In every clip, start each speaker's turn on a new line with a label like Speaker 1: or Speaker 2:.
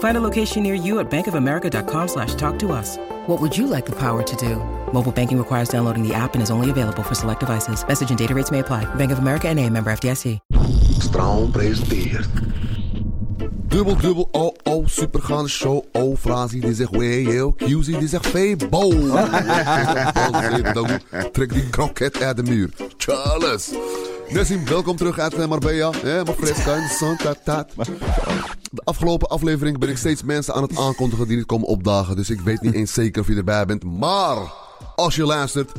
Speaker 1: Find a location near you at bankofamerica.com slash talk to us. What would you like the power to do? Mobile banking requires downloading the app and is only available for select devices. Message and data rates may apply. Bank of America and a member FDIC.
Speaker 2: Straum presenteert. Dubbel, dubbel, oh, oh, supergaande show. Oh, Frazi die zegt wee, yo. QZ die zegt Febo. Trek die kroket uit de muur. Charles. Nessim, welkom terug uit eh, Marbella. Ja, maar fresca en santa tat. De afgelopen aflevering ben ik steeds mensen aan het aankondigen die niet komen opdagen. Dus ik weet niet eens zeker of je erbij bent. Maar, als je luistert,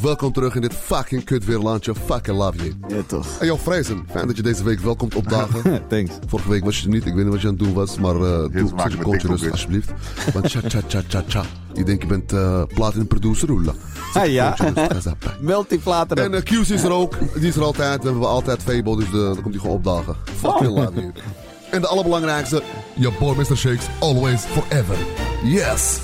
Speaker 2: welkom terug in dit fucking kut weerlandje. Fucking love you.
Speaker 3: Ja, toch.
Speaker 2: En joh, Vrezen, fijn dat je deze week wel komt opdagen.
Speaker 3: Thanks.
Speaker 2: Vorige week was je er niet, ik weet niet wat je aan het doen was, maar eh doe
Speaker 4: maak
Speaker 2: zoek
Speaker 4: ik
Speaker 2: een
Speaker 4: me
Speaker 2: kontje
Speaker 4: tikkel,
Speaker 2: rust
Speaker 4: bitch.
Speaker 2: alsjeblieft. Want tja tja tja tja tja. Je denkt je bent eh platinum producer, Oela.
Speaker 3: Ah, ja.
Speaker 2: En
Speaker 3: Meld die platen
Speaker 2: eh, Q's is er ook, die is er altijd. We hebben altijd Fable, dus eh, dan komt hij gewoon opdagen.
Speaker 3: Oh.
Speaker 2: Fucking love you. En de allerbelangrijkste, je boy Mr. Shakes, always, forever. Yes!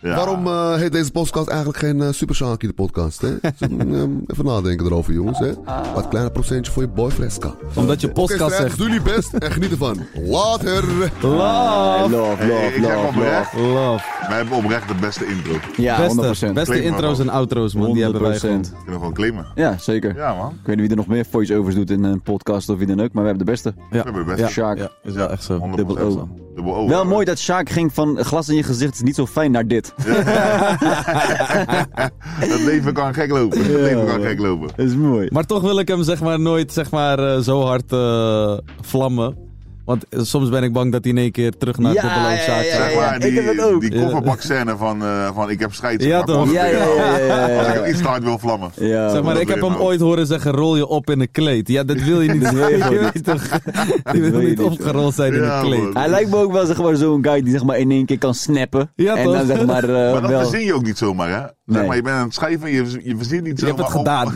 Speaker 4: Ja.
Speaker 2: Waarom eh, heet deze podcast eigenlijk geen eh, Super Shanky de podcast? Hè? Dus, ehm, even nadenken erover, jongens. Hè? Wat een kleine procentje voor je boy Fresca.
Speaker 3: Ah. Omdat je
Speaker 2: Oké,
Speaker 3: podcast
Speaker 2: strijders,
Speaker 3: zegt.
Speaker 2: doe jullie best en geniet ervan. Later!
Speaker 3: Love.
Speaker 4: Hey, ik zeg oprecht,
Speaker 3: Love.
Speaker 4: wij hebben oprecht de beste intro. Ik
Speaker 3: Ja,
Speaker 5: Beste,
Speaker 3: 100%.
Speaker 5: beste
Speaker 4: Claim maar
Speaker 5: intro's
Speaker 4: wel.
Speaker 5: en outro's, man. Die hebben wij gewoon.
Speaker 3: 100%.
Speaker 4: wil gewoon claimen.
Speaker 3: Ja, zeker.
Speaker 4: Ja, man.
Speaker 3: Ik weet niet wie er nog meer voice-overs doet in een podcast of wie dan ook, maar we hebben de beste.
Speaker 5: Ja.
Speaker 4: We hebben het
Speaker 3: Ja.
Speaker 4: best.
Speaker 3: Sjaak.
Speaker 5: Ja, is wel echt zo.
Speaker 4: 100%.
Speaker 3: dubbel O.
Speaker 4: Dubbel O.
Speaker 3: Oh. Wel mooi dat Sjaak ging van glas in je gezicht is niet zo fijn naar dit.
Speaker 4: Het leven kan gek lopen. Het leven kan
Speaker 3: man.
Speaker 4: gek lopen.
Speaker 3: Dat is mooi.
Speaker 5: Maar toch wil ik hem zeg maar nooit zeg maar, eh, zo hard eh, vlammen. Want eh, soms ben ik bang dat hij in één keer terug naar
Speaker 3: Ja,
Speaker 5: de beloofd
Speaker 3: ja,
Speaker 5: zaak
Speaker 3: ja,
Speaker 5: gaat.
Speaker 4: Zeg maar,
Speaker 3: ik heb dat
Speaker 4: die,
Speaker 3: ook.
Speaker 4: die
Speaker 5: Ja.
Speaker 4: kofferbak scène van, eh, van ik heb scheid.
Speaker 5: Ja,
Speaker 4: maar
Speaker 5: toch?
Speaker 4: als ik-
Speaker 3: Ja, ja, ja, ja,
Speaker 4: Als ik
Speaker 3: ja.
Speaker 4: het iets te hard wil vlammen.
Speaker 3: Ja,
Speaker 5: Zeg maar,
Speaker 4: dat
Speaker 5: ik heb
Speaker 4: wil je
Speaker 5: hem
Speaker 4: nou.
Speaker 5: ooit horen zeggen, rol je op in een kleed. Ja, dat wil je niet.
Speaker 3: Dat wil je gewoon
Speaker 5: weet toch? Je
Speaker 3: wil
Speaker 5: wil
Speaker 3: je
Speaker 5: niet
Speaker 3: niet.
Speaker 5: opgerold zijn in
Speaker 4: Ja,
Speaker 5: een kleed.
Speaker 4: man.
Speaker 3: Hij lijkt me ook wel zeg maar, zo'n guy die zeg maar, in één keer kan snappen.
Speaker 5: Ja,
Speaker 3: en
Speaker 5: toch?
Speaker 3: dan zeg maar, eh,
Speaker 4: Maar dat
Speaker 3: wel...
Speaker 4: verzin je ook niet zomaar, hè? Zeg
Speaker 3: Nee.
Speaker 4: maar, je bent aan het schrijven en je, je verzint niet
Speaker 5: Je
Speaker 4: zomaar.
Speaker 5: hebt het
Speaker 4: op-
Speaker 5: gedaan.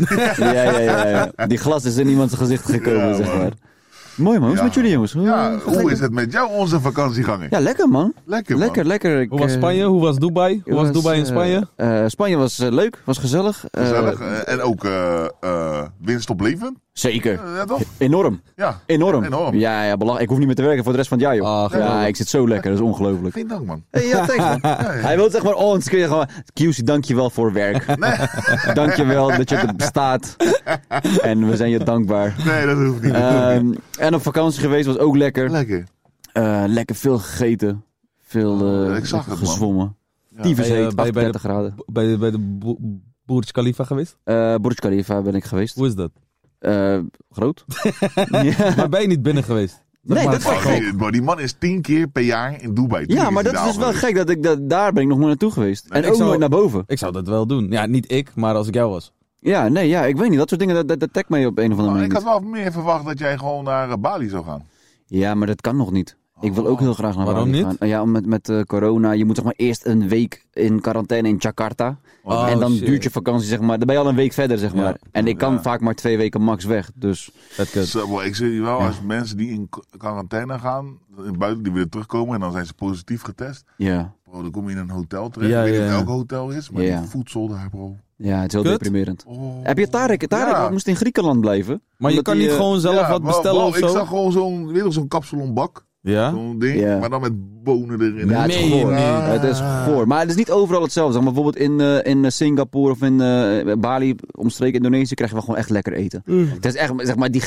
Speaker 3: Ja, ja, ja, ja. Die glas is in iemands gezicht gekomen,
Speaker 4: Ja,
Speaker 3: zeg
Speaker 4: man.
Speaker 3: maar. Mooi man, hoe is het
Speaker 4: Ja.
Speaker 3: met jullie jongens?
Speaker 4: Ja,
Speaker 3: gaat
Speaker 4: hoe
Speaker 3: lekker?
Speaker 4: is het met jou, onze vakantieganger?
Speaker 3: Ja, lekker man.
Speaker 4: Lekker, man.
Speaker 3: Lekker, lekker. Ik,
Speaker 5: Hoe was
Speaker 3: eh,
Speaker 5: Spanje? Hoe was Dubai? Hoe was
Speaker 3: Het
Speaker 5: Dubai in
Speaker 3: eh,
Speaker 5: Spanje?
Speaker 3: eh, Spanje was eh, leuk, was gezellig. Eh,
Speaker 4: Gezellig. eh, en ook eh, eh, winst op leven.
Speaker 3: zeker. E-,
Speaker 4: Eh, Ja, toch?
Speaker 3: Enorm.
Speaker 4: Ja.
Speaker 3: Enorm.
Speaker 4: Enorm.
Speaker 3: Ja, ja belach- ik hoef niet meer te werken voor de rest van het jaar, joh.
Speaker 5: Ah, geweldig.
Speaker 3: ja, ik zit zo lekker, dat is ongelooflijk.
Speaker 4: Geen dank, man.
Speaker 3: Hey, ja, thanks man. Hij wil zeg maar, oh, dan kun je gewoon, QC, dankjewel voor werk. dankjewel dat je er bestaat. en we zijn je dankbaar.
Speaker 4: Nee, dat hoeft niet.
Speaker 3: Ehm, en op vakantie geweest was ook lekker.
Speaker 4: lekker.
Speaker 3: Eh, lekker veel gegeten. Veel eh,
Speaker 4: Oh, Ik zag het, man.
Speaker 3: gezwommen. Tyfus
Speaker 5: Bij, eh,
Speaker 3: heet,
Speaker 5: bij- bij de-
Speaker 3: 38 graden.
Speaker 5: Bij, bij de Bo- Burj Khalifa geweest?
Speaker 3: Eh Burj Khalifa ben ik geweest.
Speaker 5: Hoe is dat?
Speaker 3: Eh, groot. ja.
Speaker 5: Maar ben je niet binnen geweest? Zeg
Speaker 3: Nee,
Speaker 5: maar,
Speaker 3: dat is wel
Speaker 4: Oh,
Speaker 3: gek.
Speaker 4: die- maar die man is tien keer per jaar in Dubai. Tien
Speaker 3: Ja,
Speaker 4: keer
Speaker 3: maar dat
Speaker 4: hij
Speaker 3: is dus
Speaker 4: daar
Speaker 3: wel
Speaker 4: geweest.
Speaker 3: gek. Dat ik dat, daar ben ik nog maar naartoe geweest. en
Speaker 5: ik
Speaker 3: ook
Speaker 5: zou-
Speaker 3: nooit naar boven.
Speaker 5: Ik zou dat wel doen. Ja, niet ik, maar als ik jou was.
Speaker 3: Ja, nee, ja, ik weet niet. Dat soort dingen, dat, dat, dat tagt mij op een of andere
Speaker 4: Maar
Speaker 3: manier.
Speaker 4: Oh, ik had
Speaker 3: niet.
Speaker 4: wel meer verwacht dat jij gewoon naar eh, Bali zou gaan.
Speaker 3: Ja, maar dat kan nog niet. Ik wil ook heel graag naar
Speaker 5: Waarom
Speaker 3: Bali
Speaker 5: niet?
Speaker 3: gaan. Eh, Ja, met, met eh, corona. Je moet zeg maar eerst een week in quarantaine in Jakarta.
Speaker 5: Oh,
Speaker 3: en dan
Speaker 5: shit.
Speaker 3: duurt je vakantie, zeg maar. Dan ben je al een week verder, zeg maar.
Speaker 5: Ja.
Speaker 3: En ik kan
Speaker 4: Ja.
Speaker 3: vaak maar twee weken max weg. Dus
Speaker 5: Dat kut.
Speaker 4: Zo, maar ik zie je wel, als mensen die in qu- quarantaine gaan, in buiten, die willen terugkomen en dan zijn ze positief getest.
Speaker 3: ja,
Speaker 4: Bro, dan kom je in een hotel terecht.
Speaker 5: Ja,
Speaker 4: ik weet
Speaker 5: ja,
Speaker 4: niet
Speaker 5: ja.
Speaker 4: welk hotel is, maar
Speaker 3: Ja.
Speaker 4: die voedsel daar, bro.
Speaker 3: ja het is heel
Speaker 5: Kut.
Speaker 3: deprimerend.
Speaker 4: Oh.
Speaker 3: Heb je Tarek? Tarek
Speaker 4: Ja.
Speaker 3: moest in Griekenland blijven.
Speaker 5: Maar je
Speaker 3: Omdat
Speaker 5: kan
Speaker 3: die,
Speaker 5: niet
Speaker 3: eh,
Speaker 5: gewoon zelf
Speaker 4: Ja,
Speaker 5: wat
Speaker 4: bro,
Speaker 5: bestellen
Speaker 4: bro,
Speaker 5: of zo?
Speaker 4: Ik zag gewoon zo'n, weet je wel, zo'n kapsalonbak.
Speaker 5: Ja?
Speaker 4: Zo'n ding.
Speaker 3: Ja.
Speaker 4: Maar dan met bonen erin.
Speaker 3: Ja, het is
Speaker 5: Meen je Ah.
Speaker 3: goor.
Speaker 5: niet?
Speaker 3: Het is goor. Maar het is niet overal hetzelfde. Zeg maar bijvoorbeeld in, eh, in Singapore of in eh, Bali, omstreken Indonesië, krijg je wel gewoon echt lekker eten.
Speaker 5: Mm.
Speaker 3: Het is echt, zeg maar, die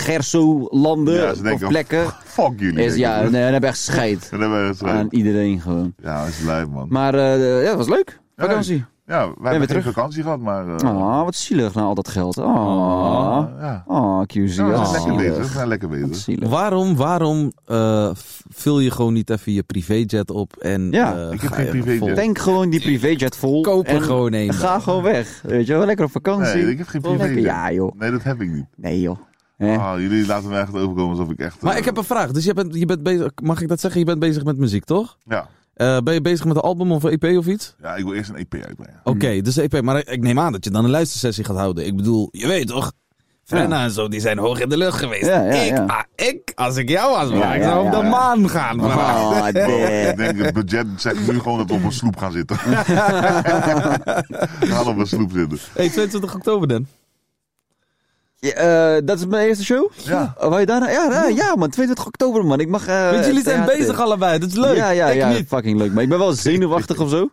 Speaker 4: Ja,
Speaker 3: Gerso-landen
Speaker 4: ze denken,
Speaker 3: of plekken.
Speaker 4: Fuck jullie.
Speaker 3: Is,
Speaker 4: denk
Speaker 3: ja,
Speaker 4: ik.
Speaker 3: nee, dan hebben we echt scheid
Speaker 4: En dan hebben we het zo.
Speaker 3: aan iedereen gewoon.
Speaker 4: Ja, dat is lijp, man.
Speaker 3: Maar eh, ja, dat was leuk. Vakantie.
Speaker 4: Ja, wij hebben geen
Speaker 3: terug?
Speaker 4: vakantie gehad, maar... eh,
Speaker 3: Oh, wat zielig na al dat geld. Oh,
Speaker 4: Ah, Ja.
Speaker 3: oh QZ.
Speaker 4: Ja, we
Speaker 3: wat
Speaker 4: zijn lekker
Speaker 3: zielig.
Speaker 4: bezig. We zijn lekker
Speaker 3: Wat
Speaker 4: bezig.
Speaker 3: zielig.
Speaker 5: Waarom, waarom eh, v- vul je gewoon niet even je privéjet op en
Speaker 3: Ja,
Speaker 5: eh,
Speaker 4: ik heb
Speaker 5: ga
Speaker 4: geen
Speaker 5: even
Speaker 4: privéjet.
Speaker 5: vol-
Speaker 3: Tank gewoon die privéjet vol.
Speaker 5: Koop er
Speaker 3: en
Speaker 5: gewoon een.
Speaker 3: Ga gewoon weg. Weet je wel, lekker op vakantie.
Speaker 4: Nee, ik heb geen
Speaker 3: Lekker-
Speaker 4: privé.
Speaker 3: Ja, joh.
Speaker 4: Nee, dat heb ik niet.
Speaker 3: Nee, joh. Eh? Hè?
Speaker 4: Ah, jullie laten me echt overkomen alsof ik echt...
Speaker 5: Maar
Speaker 4: eh,
Speaker 5: ik heb een vraag. Dus je bent, je bent bezig, mag ik dat zeggen? Je bent bezig met muziek, toch?
Speaker 4: Ja.
Speaker 5: Eh, ben je bezig met een album of een EP of iets?
Speaker 4: ja, ik wil eerst een EP uitbrengen.
Speaker 5: Oké, dus EP. Maar ik- ik neem aan dat je dan een luistersessie gaat houden. Ik bedoel, je weet toch? Frenna en zo, die zijn hoog in de lucht geweest.
Speaker 3: Ja, ja,
Speaker 5: ik,
Speaker 3: ja.
Speaker 5: ah, ik, als ik jou was,
Speaker 3: Ja,
Speaker 5: ik
Speaker 3: ja,
Speaker 5: zou op
Speaker 3: ja,
Speaker 5: de
Speaker 3: ja.
Speaker 5: maan gaan. vandaag.
Speaker 3: Oh,
Speaker 4: Ik
Speaker 3: damn.
Speaker 4: denk, het budget zegt nu gewoon dat we op een sloep gaan zitten. we gaan op een sloep zitten.
Speaker 5: Hey, 22 oktober dan.
Speaker 3: Ja, eh, dat is mijn eerste show?
Speaker 4: Ja.
Speaker 3: Oh, wou je daarna? Ja, ja, ja, man. 22 oktober, man. Ik mag... eh,
Speaker 5: Want jullie zijn
Speaker 3: theater.
Speaker 5: bezig allebei, dat is leuk.
Speaker 3: Ja, ja,
Speaker 5: ik
Speaker 3: ja.
Speaker 5: niet.
Speaker 3: Fucking leuk. Maar ik ben wel zenuwachtig of zo.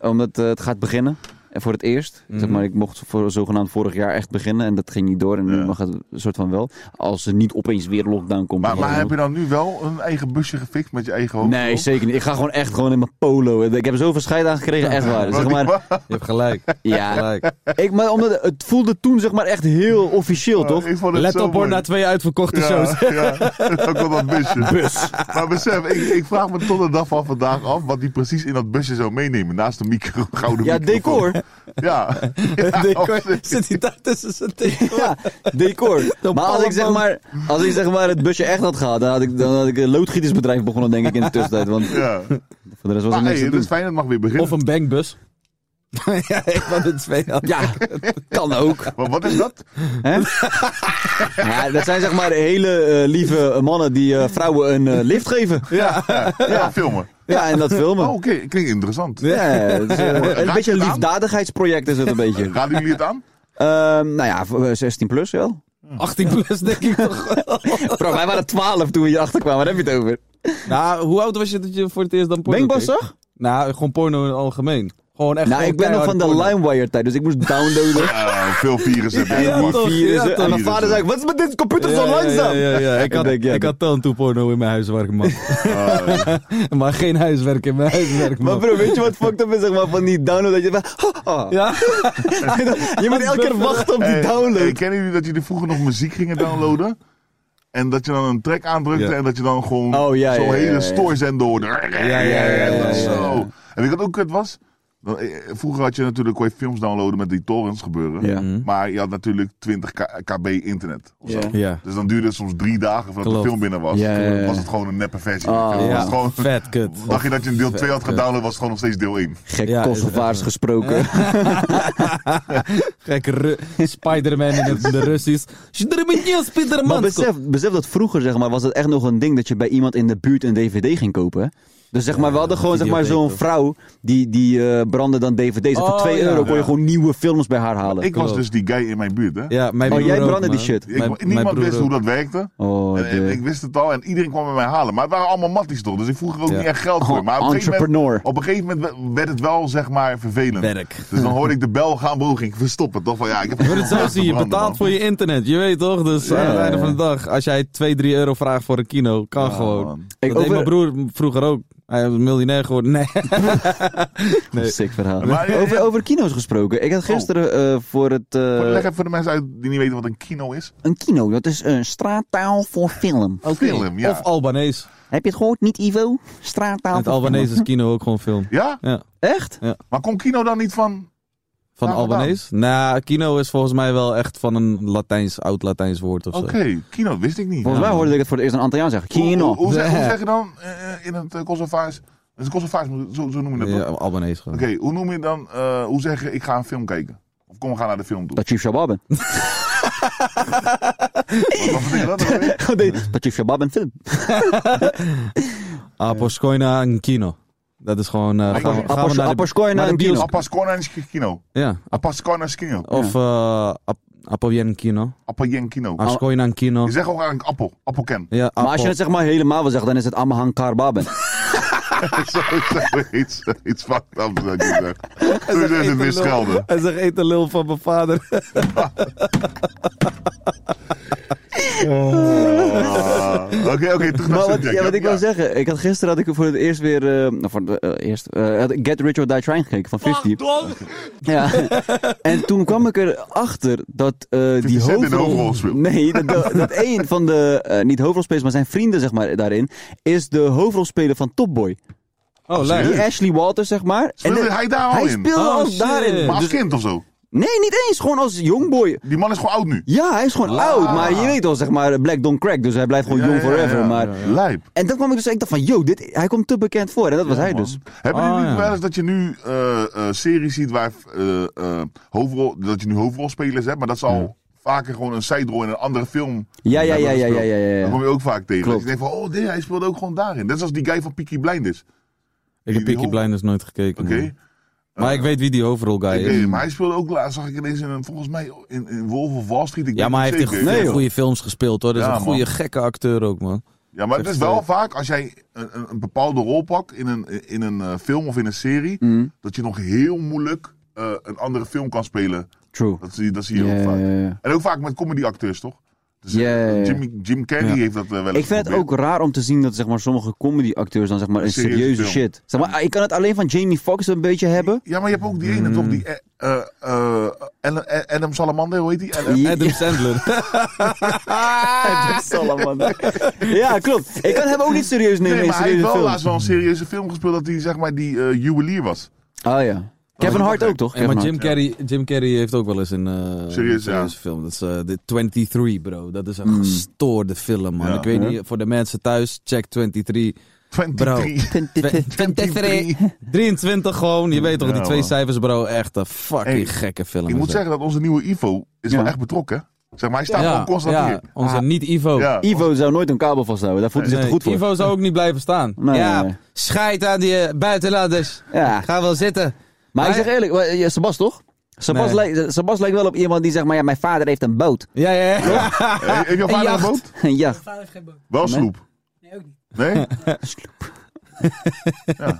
Speaker 3: Omdat eh, het gaat beginnen. En voor het eerst. Zeg
Speaker 4: Mhm.
Speaker 3: maar, ik mocht voor, zogenaamd vorig jaar echt beginnen. En dat ging niet door. En nu
Speaker 4: Ja.
Speaker 3: mag het een soort van wel. Als er niet opeens weer lockdown komt.
Speaker 4: Maar,
Speaker 3: Dan
Speaker 4: maar
Speaker 3: wel.
Speaker 4: heb je dan nu wel een eigen busje gefixt met je eigen hoofd?
Speaker 3: Nee, zeker niet. Ik ga gewoon echt gewoon in mijn polo. Ik heb zoveel scheid aangekregen, echt waar. Zeg maar,
Speaker 5: Je hebt gelijk.
Speaker 3: ja,
Speaker 5: gelijk.
Speaker 3: ik, maar omdat het voelde toen zeg maar echt heel officieel, toch?
Speaker 4: Ik vond het
Speaker 5: Let
Speaker 4: zo
Speaker 5: op hoor,
Speaker 4: mooi.
Speaker 5: na twee uitverkochte shows.
Speaker 4: Ja, ja. dan komt dat busje. Bus. Maar besef, ik, ik vraag me tot de dag van vandaag af wat die precies in dat busje zou meenemen. Naast de micro, gouden
Speaker 3: Ja,
Speaker 4: microfoon.
Speaker 3: decor.
Speaker 4: Ja. ja
Speaker 5: Decor,
Speaker 4: op zich.
Speaker 5: zit hij daar tussen zijn tegen?
Speaker 3: Ja, decor. Maar als ik, zeg
Speaker 5: pallenboom.
Speaker 3: maar als ik zeg maar het busje echt had gehad, dan had ik, dan had ik een loodgietersbedrijf begonnen, denk ik, in de tussentijd. Want
Speaker 4: Ja.
Speaker 3: voor de rest was er
Speaker 4: Maar
Speaker 3: niks
Speaker 4: hey,
Speaker 3: te
Speaker 4: het is
Speaker 3: doen.
Speaker 4: fijn, het mag weer beginnen.
Speaker 5: Of een bankbus. ja, ik van de twee. al.
Speaker 3: Ja, kan ook.
Speaker 4: Maar wat is dat?
Speaker 3: Hè? Ja, dat zijn zeg maar hele eh, lieve mannen die eh, vrouwen een eh, lift geven.
Speaker 5: Ja.
Speaker 4: Ja, filmen.
Speaker 3: Ja, en dat filmen.
Speaker 4: Oh, oké. Klinkt interessant.
Speaker 3: Ja, het is, eh, een
Speaker 4: Raak je
Speaker 3: beetje een
Speaker 4: het aan?
Speaker 3: liefdadigheidsproject is het een beetje.
Speaker 4: Raden jullie het aan?
Speaker 3: Ehm, nou ja, voor, eh, 16 plus wel.
Speaker 5: 18 plus denk ik toch wel.
Speaker 3: Bro, wij waren 12 toen we hier achterkwamen. Waar heb je het over?
Speaker 5: Nou, hoe oud was je dat je voor het eerst dan porno
Speaker 3: Denkbaar
Speaker 5: keek?
Speaker 3: toch?
Speaker 5: Nou, gewoon porno in het algemeen. Gewoon echt
Speaker 3: Nou, ik ben nog van de LimeWire tijd, dus ik moest downloaden.
Speaker 4: Eh, veel virussen heb jij
Speaker 5: Ja,
Speaker 4: gepakt.
Speaker 5: toch.
Speaker 3: Virussen.
Speaker 5: ja,
Speaker 3: en mijn
Speaker 4: toch.
Speaker 3: vader zei, wat is met dit computer zo langzaam?
Speaker 5: Ja, ja, ja. Ik,
Speaker 3: Ik
Speaker 5: had,
Speaker 3: denk, ja,
Speaker 5: ik
Speaker 3: dat-
Speaker 5: had dan toe porno in mijn huiswerk, man. maar geen huiswerk in mijn huiswerk,
Speaker 3: Oh. Maar
Speaker 5: man.
Speaker 3: bro, weet je wat fucked up is zeg maar, van die download? Dat je, oh, oh.
Speaker 5: ja?
Speaker 3: je moet elke keer wachten op die
Speaker 4: Hey,
Speaker 3: download.
Speaker 4: hey, kennen jullie dat jullie vroeger nog muziek gingen downloaden? En dat je dan een track aandrukte
Speaker 5: Ja.
Speaker 4: en dat je dan gewoon
Speaker 3: Oh, ja,
Speaker 4: zo'n
Speaker 3: ja, ja,
Speaker 4: hele
Speaker 3: ja, ja.
Speaker 4: stoorzender hoorde.
Speaker 5: ja, ja, ja, ja.
Speaker 4: Zo. En weet je wat ook het was? Dan, eh, Vroeger had je natuurlijk kon je films downloaden met die torrents gebeuren.
Speaker 3: Ja.
Speaker 4: Maar je had natuurlijk 20 k- kb internet. Of zo.
Speaker 3: Ja.
Speaker 5: Ja.
Speaker 4: Dus dan duurde het soms drie dagen voordat
Speaker 5: Klopt.
Speaker 4: de film binnen was.
Speaker 3: Ja, ja, ja.
Speaker 4: Was het gewoon een neppe versie.
Speaker 3: Ah,
Speaker 4: van de film.
Speaker 3: ja.
Speaker 4: Was het gewoon,
Speaker 5: Vet kut.
Speaker 4: dacht je dat je een deel 2 had
Speaker 5: Vet,
Speaker 4: gedownload, was het gewoon nog steeds deel 1.
Speaker 3: Gek
Speaker 5: Ja, is-
Speaker 3: Kosovaars gesproken.
Speaker 5: Gek Ru- Spider-Man in het de Russisch. Sjdribbenje,
Speaker 3: Maar
Speaker 5: Spider-Man.
Speaker 3: besef, besef dat vroeger zeg maar, was het echt nog een ding dat je bij iemand in de buurt een dvd ging kopen. hè? Dus zeg maar, we hadden gewoon zeg maar,
Speaker 5: videotheek
Speaker 3: zo'n
Speaker 5: ook.
Speaker 3: vrouw die, die eh, brandde dan dvd's. En
Speaker 5: Oh,
Speaker 3: voor 2
Speaker 5: ja.
Speaker 3: euro kon je
Speaker 4: Ja.
Speaker 3: gewoon nieuwe films bij haar halen.
Speaker 4: Ik was
Speaker 5: Klopt.
Speaker 4: dus die guy in mijn buurt, hè?
Speaker 5: Ja, mijn
Speaker 3: Oh,
Speaker 5: broer
Speaker 3: jij
Speaker 5: ook,
Speaker 3: brandde die
Speaker 5: man.
Speaker 3: shit.
Speaker 4: Ik,
Speaker 5: Mijn- mijn
Speaker 4: niemand
Speaker 5: broer
Speaker 4: wist hoe
Speaker 5: ook.
Speaker 4: dat werkte.
Speaker 3: Oh,
Speaker 4: En- en
Speaker 3: de-
Speaker 4: ik wist het al en iedereen kwam bij mij halen. Maar het waren allemaal matties toch, dus ik vroeg er ook
Speaker 5: Ja.
Speaker 4: niet echt geld voor.
Speaker 3: Oh,
Speaker 4: Maar op een, gegeven
Speaker 3: entrepreneur.
Speaker 4: moment, op een gegeven moment we- werd het wel, zeg maar, vervelend.
Speaker 5: Werk.
Speaker 4: Dus dan hoorde ik de bel gaan boven, ging ik verstoppen. Toch van, ja, ik heb
Speaker 5: Maar dat zo zie je, betaalt voor je internet. Je weet toch? Dus aan het
Speaker 3: ja,
Speaker 5: einde van de dag, als jij 2, 3 euro vraagt voor een kino, kan
Speaker 4: Ja,
Speaker 5: gewoon.
Speaker 4: man.
Speaker 5: Ik
Speaker 3: Ik
Speaker 5: dat deed mijn
Speaker 3: over-
Speaker 5: broer vroeger ook. Hij is miljonair geworden. Nee. Nee.
Speaker 3: Sick verhaal.
Speaker 4: Maar-
Speaker 3: over, over kino's gesproken. Ik had gisteren eh, voor het... eh,
Speaker 4: Leg even voor de mensen uit die niet weten wat een kino is.
Speaker 3: een kino, dat is een straattaal voor film.
Speaker 4: Oh, Film, ja.
Speaker 5: Of Albanees.
Speaker 3: Heb je het gehoord? Niet Ivo? Straattaal
Speaker 5: In het
Speaker 3: voor
Speaker 5: Albanees
Speaker 3: film.
Speaker 5: is kino ook gewoon film.
Speaker 4: Ja?
Speaker 5: Ja.
Speaker 3: Echt?
Speaker 4: Maar kon kino dan niet van...
Speaker 5: Van
Speaker 4: Waar
Speaker 5: Albanees? Nou, kino is volgens mij wel echt van een Latijns, oud-Latijns woord of zo.
Speaker 4: Oké, kino, wist ik niet.
Speaker 3: Volgens mij hoorde ik het voor het eerst een Antilliaan zeggen.
Speaker 4: Hoe-
Speaker 3: Kino.
Speaker 4: Hoe, hoe, zeg, hoe zeg je dan eh, in het eh, Kosovaars? Het is Kosovaars, zo, zo noem je dat
Speaker 5: Ja,
Speaker 4: toch?
Speaker 5: Albanees gewoon.
Speaker 4: Oké, hoe noem je dan, eh, hoe zeg je ik ga een film kijken? Of kom, we gaan naar de film toe.
Speaker 3: Dat Chief Shabab bent.
Speaker 4: Wat, wat betekent dat dan weer?
Speaker 3: Dat Chief Shabab bent film.
Speaker 5: Aposkoina en kino. Dat is gewoon... eh, gaan, we- gaan we
Speaker 3: Apos-
Speaker 5: naar de-
Speaker 3: Aposkoina
Speaker 5: naar de
Speaker 3: en kino.
Speaker 5: bioscoop.
Speaker 4: Apascona en kino.
Speaker 5: Ja.
Speaker 4: Apascona en kino.
Speaker 5: Of eh ap Apoyen kino.
Speaker 4: Appeljen kino.
Speaker 5: Askoina en kino.
Speaker 4: Je zegt ook eigenlijk appel. Appelken.
Speaker 5: eh, Ja,
Speaker 3: Maar als je het zeg maar helemaal wil zeggen, dan is het Amahang Karbaben.
Speaker 4: Zoiets iets fucked up dat je zegt. Toen is het weer schelden.
Speaker 5: Hij zegt eten lul van mijn vader.
Speaker 4: Ah. Oké, oké. terug naar
Speaker 3: Maar wat,
Speaker 4: Subject,
Speaker 3: ja, wat ik
Speaker 4: ja.
Speaker 3: wil zeggen, ik had gisteren had ik voor het eerst weer, eh, nou, voor het eh, eerst, eh, had ik Get Rich or Die Trying gekeken van 50. Ja. en toen kwam ik erachter dat eh,
Speaker 4: 50
Speaker 3: die
Speaker 4: Cent in de
Speaker 3: hoofdrol...
Speaker 4: hoofdrol speelt.
Speaker 3: Nee, dat, dat, dat een van de, eh, niet hoofdrolspelers, maar zijn vrienden zeg maar daarin, is de hoofdrolspeler van Top Boy.
Speaker 5: Oh,
Speaker 3: Die
Speaker 5: leuk.
Speaker 3: Ashley Walter zeg maar.
Speaker 4: Speelde
Speaker 3: En de-
Speaker 4: hij daar al
Speaker 3: hij
Speaker 4: in?
Speaker 3: speelde
Speaker 5: Oh,
Speaker 3: ook
Speaker 5: shit.
Speaker 3: daarin.
Speaker 4: Maar als
Speaker 3: Dus-
Speaker 4: kind of zo.
Speaker 3: nee, niet eens, gewoon als jongboy.
Speaker 4: Die man is gewoon oud nu.
Speaker 3: Ja, hij is gewoon
Speaker 5: Ah.
Speaker 3: oud, maar je weet wel zeg maar, Black Don't Crack, dus hij blijft gewoon
Speaker 4: Ja,
Speaker 3: jong
Speaker 4: ja, ja,
Speaker 3: forever.
Speaker 4: ja.
Speaker 3: Maar
Speaker 4: Lijp.
Speaker 3: en dan kwam ik dus, ik dacht van, yo, dit, hij komt te bekend voor. En dat was hij dus.
Speaker 4: Hebben
Speaker 5: Ah,
Speaker 4: jullie
Speaker 5: ja.
Speaker 4: wel eens dat je nu eh, eh, series ziet waar eh, eh, hoofdrol, dat je nu hoofdrolspelers hebt, maar dat is al vaker gewoon een zijrol in een andere film.
Speaker 3: Ja, ja,
Speaker 4: hebben
Speaker 3: ja, ja,
Speaker 4: gespeeld.
Speaker 3: ja, ja, ja, ja.
Speaker 4: Dat kom je ook vaak tegen.
Speaker 3: Klopt.
Speaker 4: Dat je denkt van, oh, dit, hij speelde ook gewoon daarin. Net zoals die guy van Peaky Blinders.
Speaker 5: Ik heb Peaky Blinders nooit gekeken.
Speaker 4: Oké. Eh,
Speaker 5: man. Maar ik weet wie die hoofdrol guy
Speaker 4: Ik
Speaker 5: is.
Speaker 4: weet het, maar hij speelde ook laatst, zag ik ineens in, een- volgens mij in, in Wolf of Wall Street. Ik
Speaker 5: Ja,
Speaker 4: weet
Speaker 5: maar hij
Speaker 4: niet
Speaker 5: heeft
Speaker 4: zeker.
Speaker 5: echt veel
Speaker 3: joh.
Speaker 5: goede films gespeeld hoor. Dat is
Speaker 4: Ja,
Speaker 5: een goede,
Speaker 4: man.
Speaker 5: gekke acteur ook, man.
Speaker 4: Ja, maar het
Speaker 5: Echt,
Speaker 4: is wel
Speaker 5: eh,
Speaker 4: vaak als jij een, een, een bepaalde rol pakt in een, in een eh, film of in een serie,
Speaker 3: Mm.
Speaker 4: dat je nog heel moeilijk eh, een andere film kan spelen.
Speaker 3: True.
Speaker 4: Dat zie, dat zie je
Speaker 3: Ja,
Speaker 4: heel vaak.
Speaker 3: ja, ja.
Speaker 4: En ook vaak met comedyacteurs, toch? Dus, eh,
Speaker 3: Ja, ja, ja.
Speaker 4: Jimmy, Jim Carrey
Speaker 3: Ja.
Speaker 4: heeft dat eh, wel eens
Speaker 3: Ik vind het
Speaker 4: geprobeerd.
Speaker 3: ook raar om te zien dat zeg maar, sommige comedyacteurs dan zeg maar, een
Speaker 4: Serieuze
Speaker 3: serieuze
Speaker 4: film.
Speaker 3: shit. Zeg maar, ik kan het alleen van Jamie Foxx een beetje hebben. Hmm.
Speaker 4: Ja, maar je hebt ook die ene, toch? Die eh, eh, eh, Alan- eh, Adam Salamander, hoe heet die? Alan-
Speaker 3: Ja.
Speaker 5: Adam Sandler.
Speaker 3: Dat zal allemaal. Ja, klopt. Ik kan hem ook niet serieus nemen
Speaker 4: Nee,
Speaker 3: in
Speaker 4: maar hij heeft
Speaker 3: serieuze
Speaker 4: wel
Speaker 3: films.
Speaker 4: laatst wel een serieuze film gespeeld dat hij zeg maar die eh, juwelier was.
Speaker 3: Oh ja. Kevin Hart ook, toch?
Speaker 5: Ja, maar
Speaker 3: Kevin
Speaker 5: Jim
Speaker 3: Hart.
Speaker 5: Carrey, Jim Carrey heeft ook wel eens een eh
Speaker 4: Serieus,
Speaker 5: serieuze
Speaker 4: ja. Hmm.
Speaker 5: film. Dat is eh, de 23, bro. Dat is een gestoorde film, man.
Speaker 4: Ja.
Speaker 5: ik weet
Speaker 3: Ja.
Speaker 5: niet, voor de mensen thuis, check 23.
Speaker 4: 23.
Speaker 5: Twe- 23. 23 gewoon. Je weet toch,
Speaker 4: Ja,
Speaker 5: die twee
Speaker 4: man.
Speaker 5: cijfers, bro. Echt een fucking
Speaker 4: Hey,
Speaker 5: gekke film.
Speaker 4: Ik
Speaker 5: is
Speaker 4: moet
Speaker 5: dat.
Speaker 4: zeggen dat onze nieuwe Ivo is
Speaker 3: Ja.
Speaker 4: wel echt betrokken. Zeg maar, hij staat
Speaker 5: ja,
Speaker 4: gewoon constant
Speaker 5: ja,
Speaker 4: hier.
Speaker 5: onze niet-Ivo.
Speaker 4: Ja.
Speaker 3: Ah. Ivo zou nooit een kabel vasthouden. Daar voelt hij zich
Speaker 5: Nee,
Speaker 3: te goed voor.
Speaker 5: Ivo zou ook niet blijven staan.
Speaker 3: Nee,
Speaker 5: ja,
Speaker 3: nee, nee.
Speaker 5: scheid aan die eh, buitenlanders.
Speaker 3: Ja.
Speaker 5: Ga wel zitten.
Speaker 3: Maar ik
Speaker 5: Maar-
Speaker 3: zeg eerlijk,
Speaker 4: eh,
Speaker 3: wa- ja, Sebas toch? Sebas,
Speaker 5: Nee.
Speaker 3: lijkt, Sebas lijkt wel op iemand die zegt, maar ja, mijn vader heeft een boot.
Speaker 5: Ja, ja, ja.
Speaker 4: Hey, Heb je Eh, vader een
Speaker 5: jacht.
Speaker 4: boot?
Speaker 3: Een
Speaker 6: Mijn
Speaker 3: jacht.
Speaker 6: vader heeft geen boot.
Speaker 4: Wel sloep.
Speaker 6: Nee, ook niet.
Speaker 4: Nee? Ja.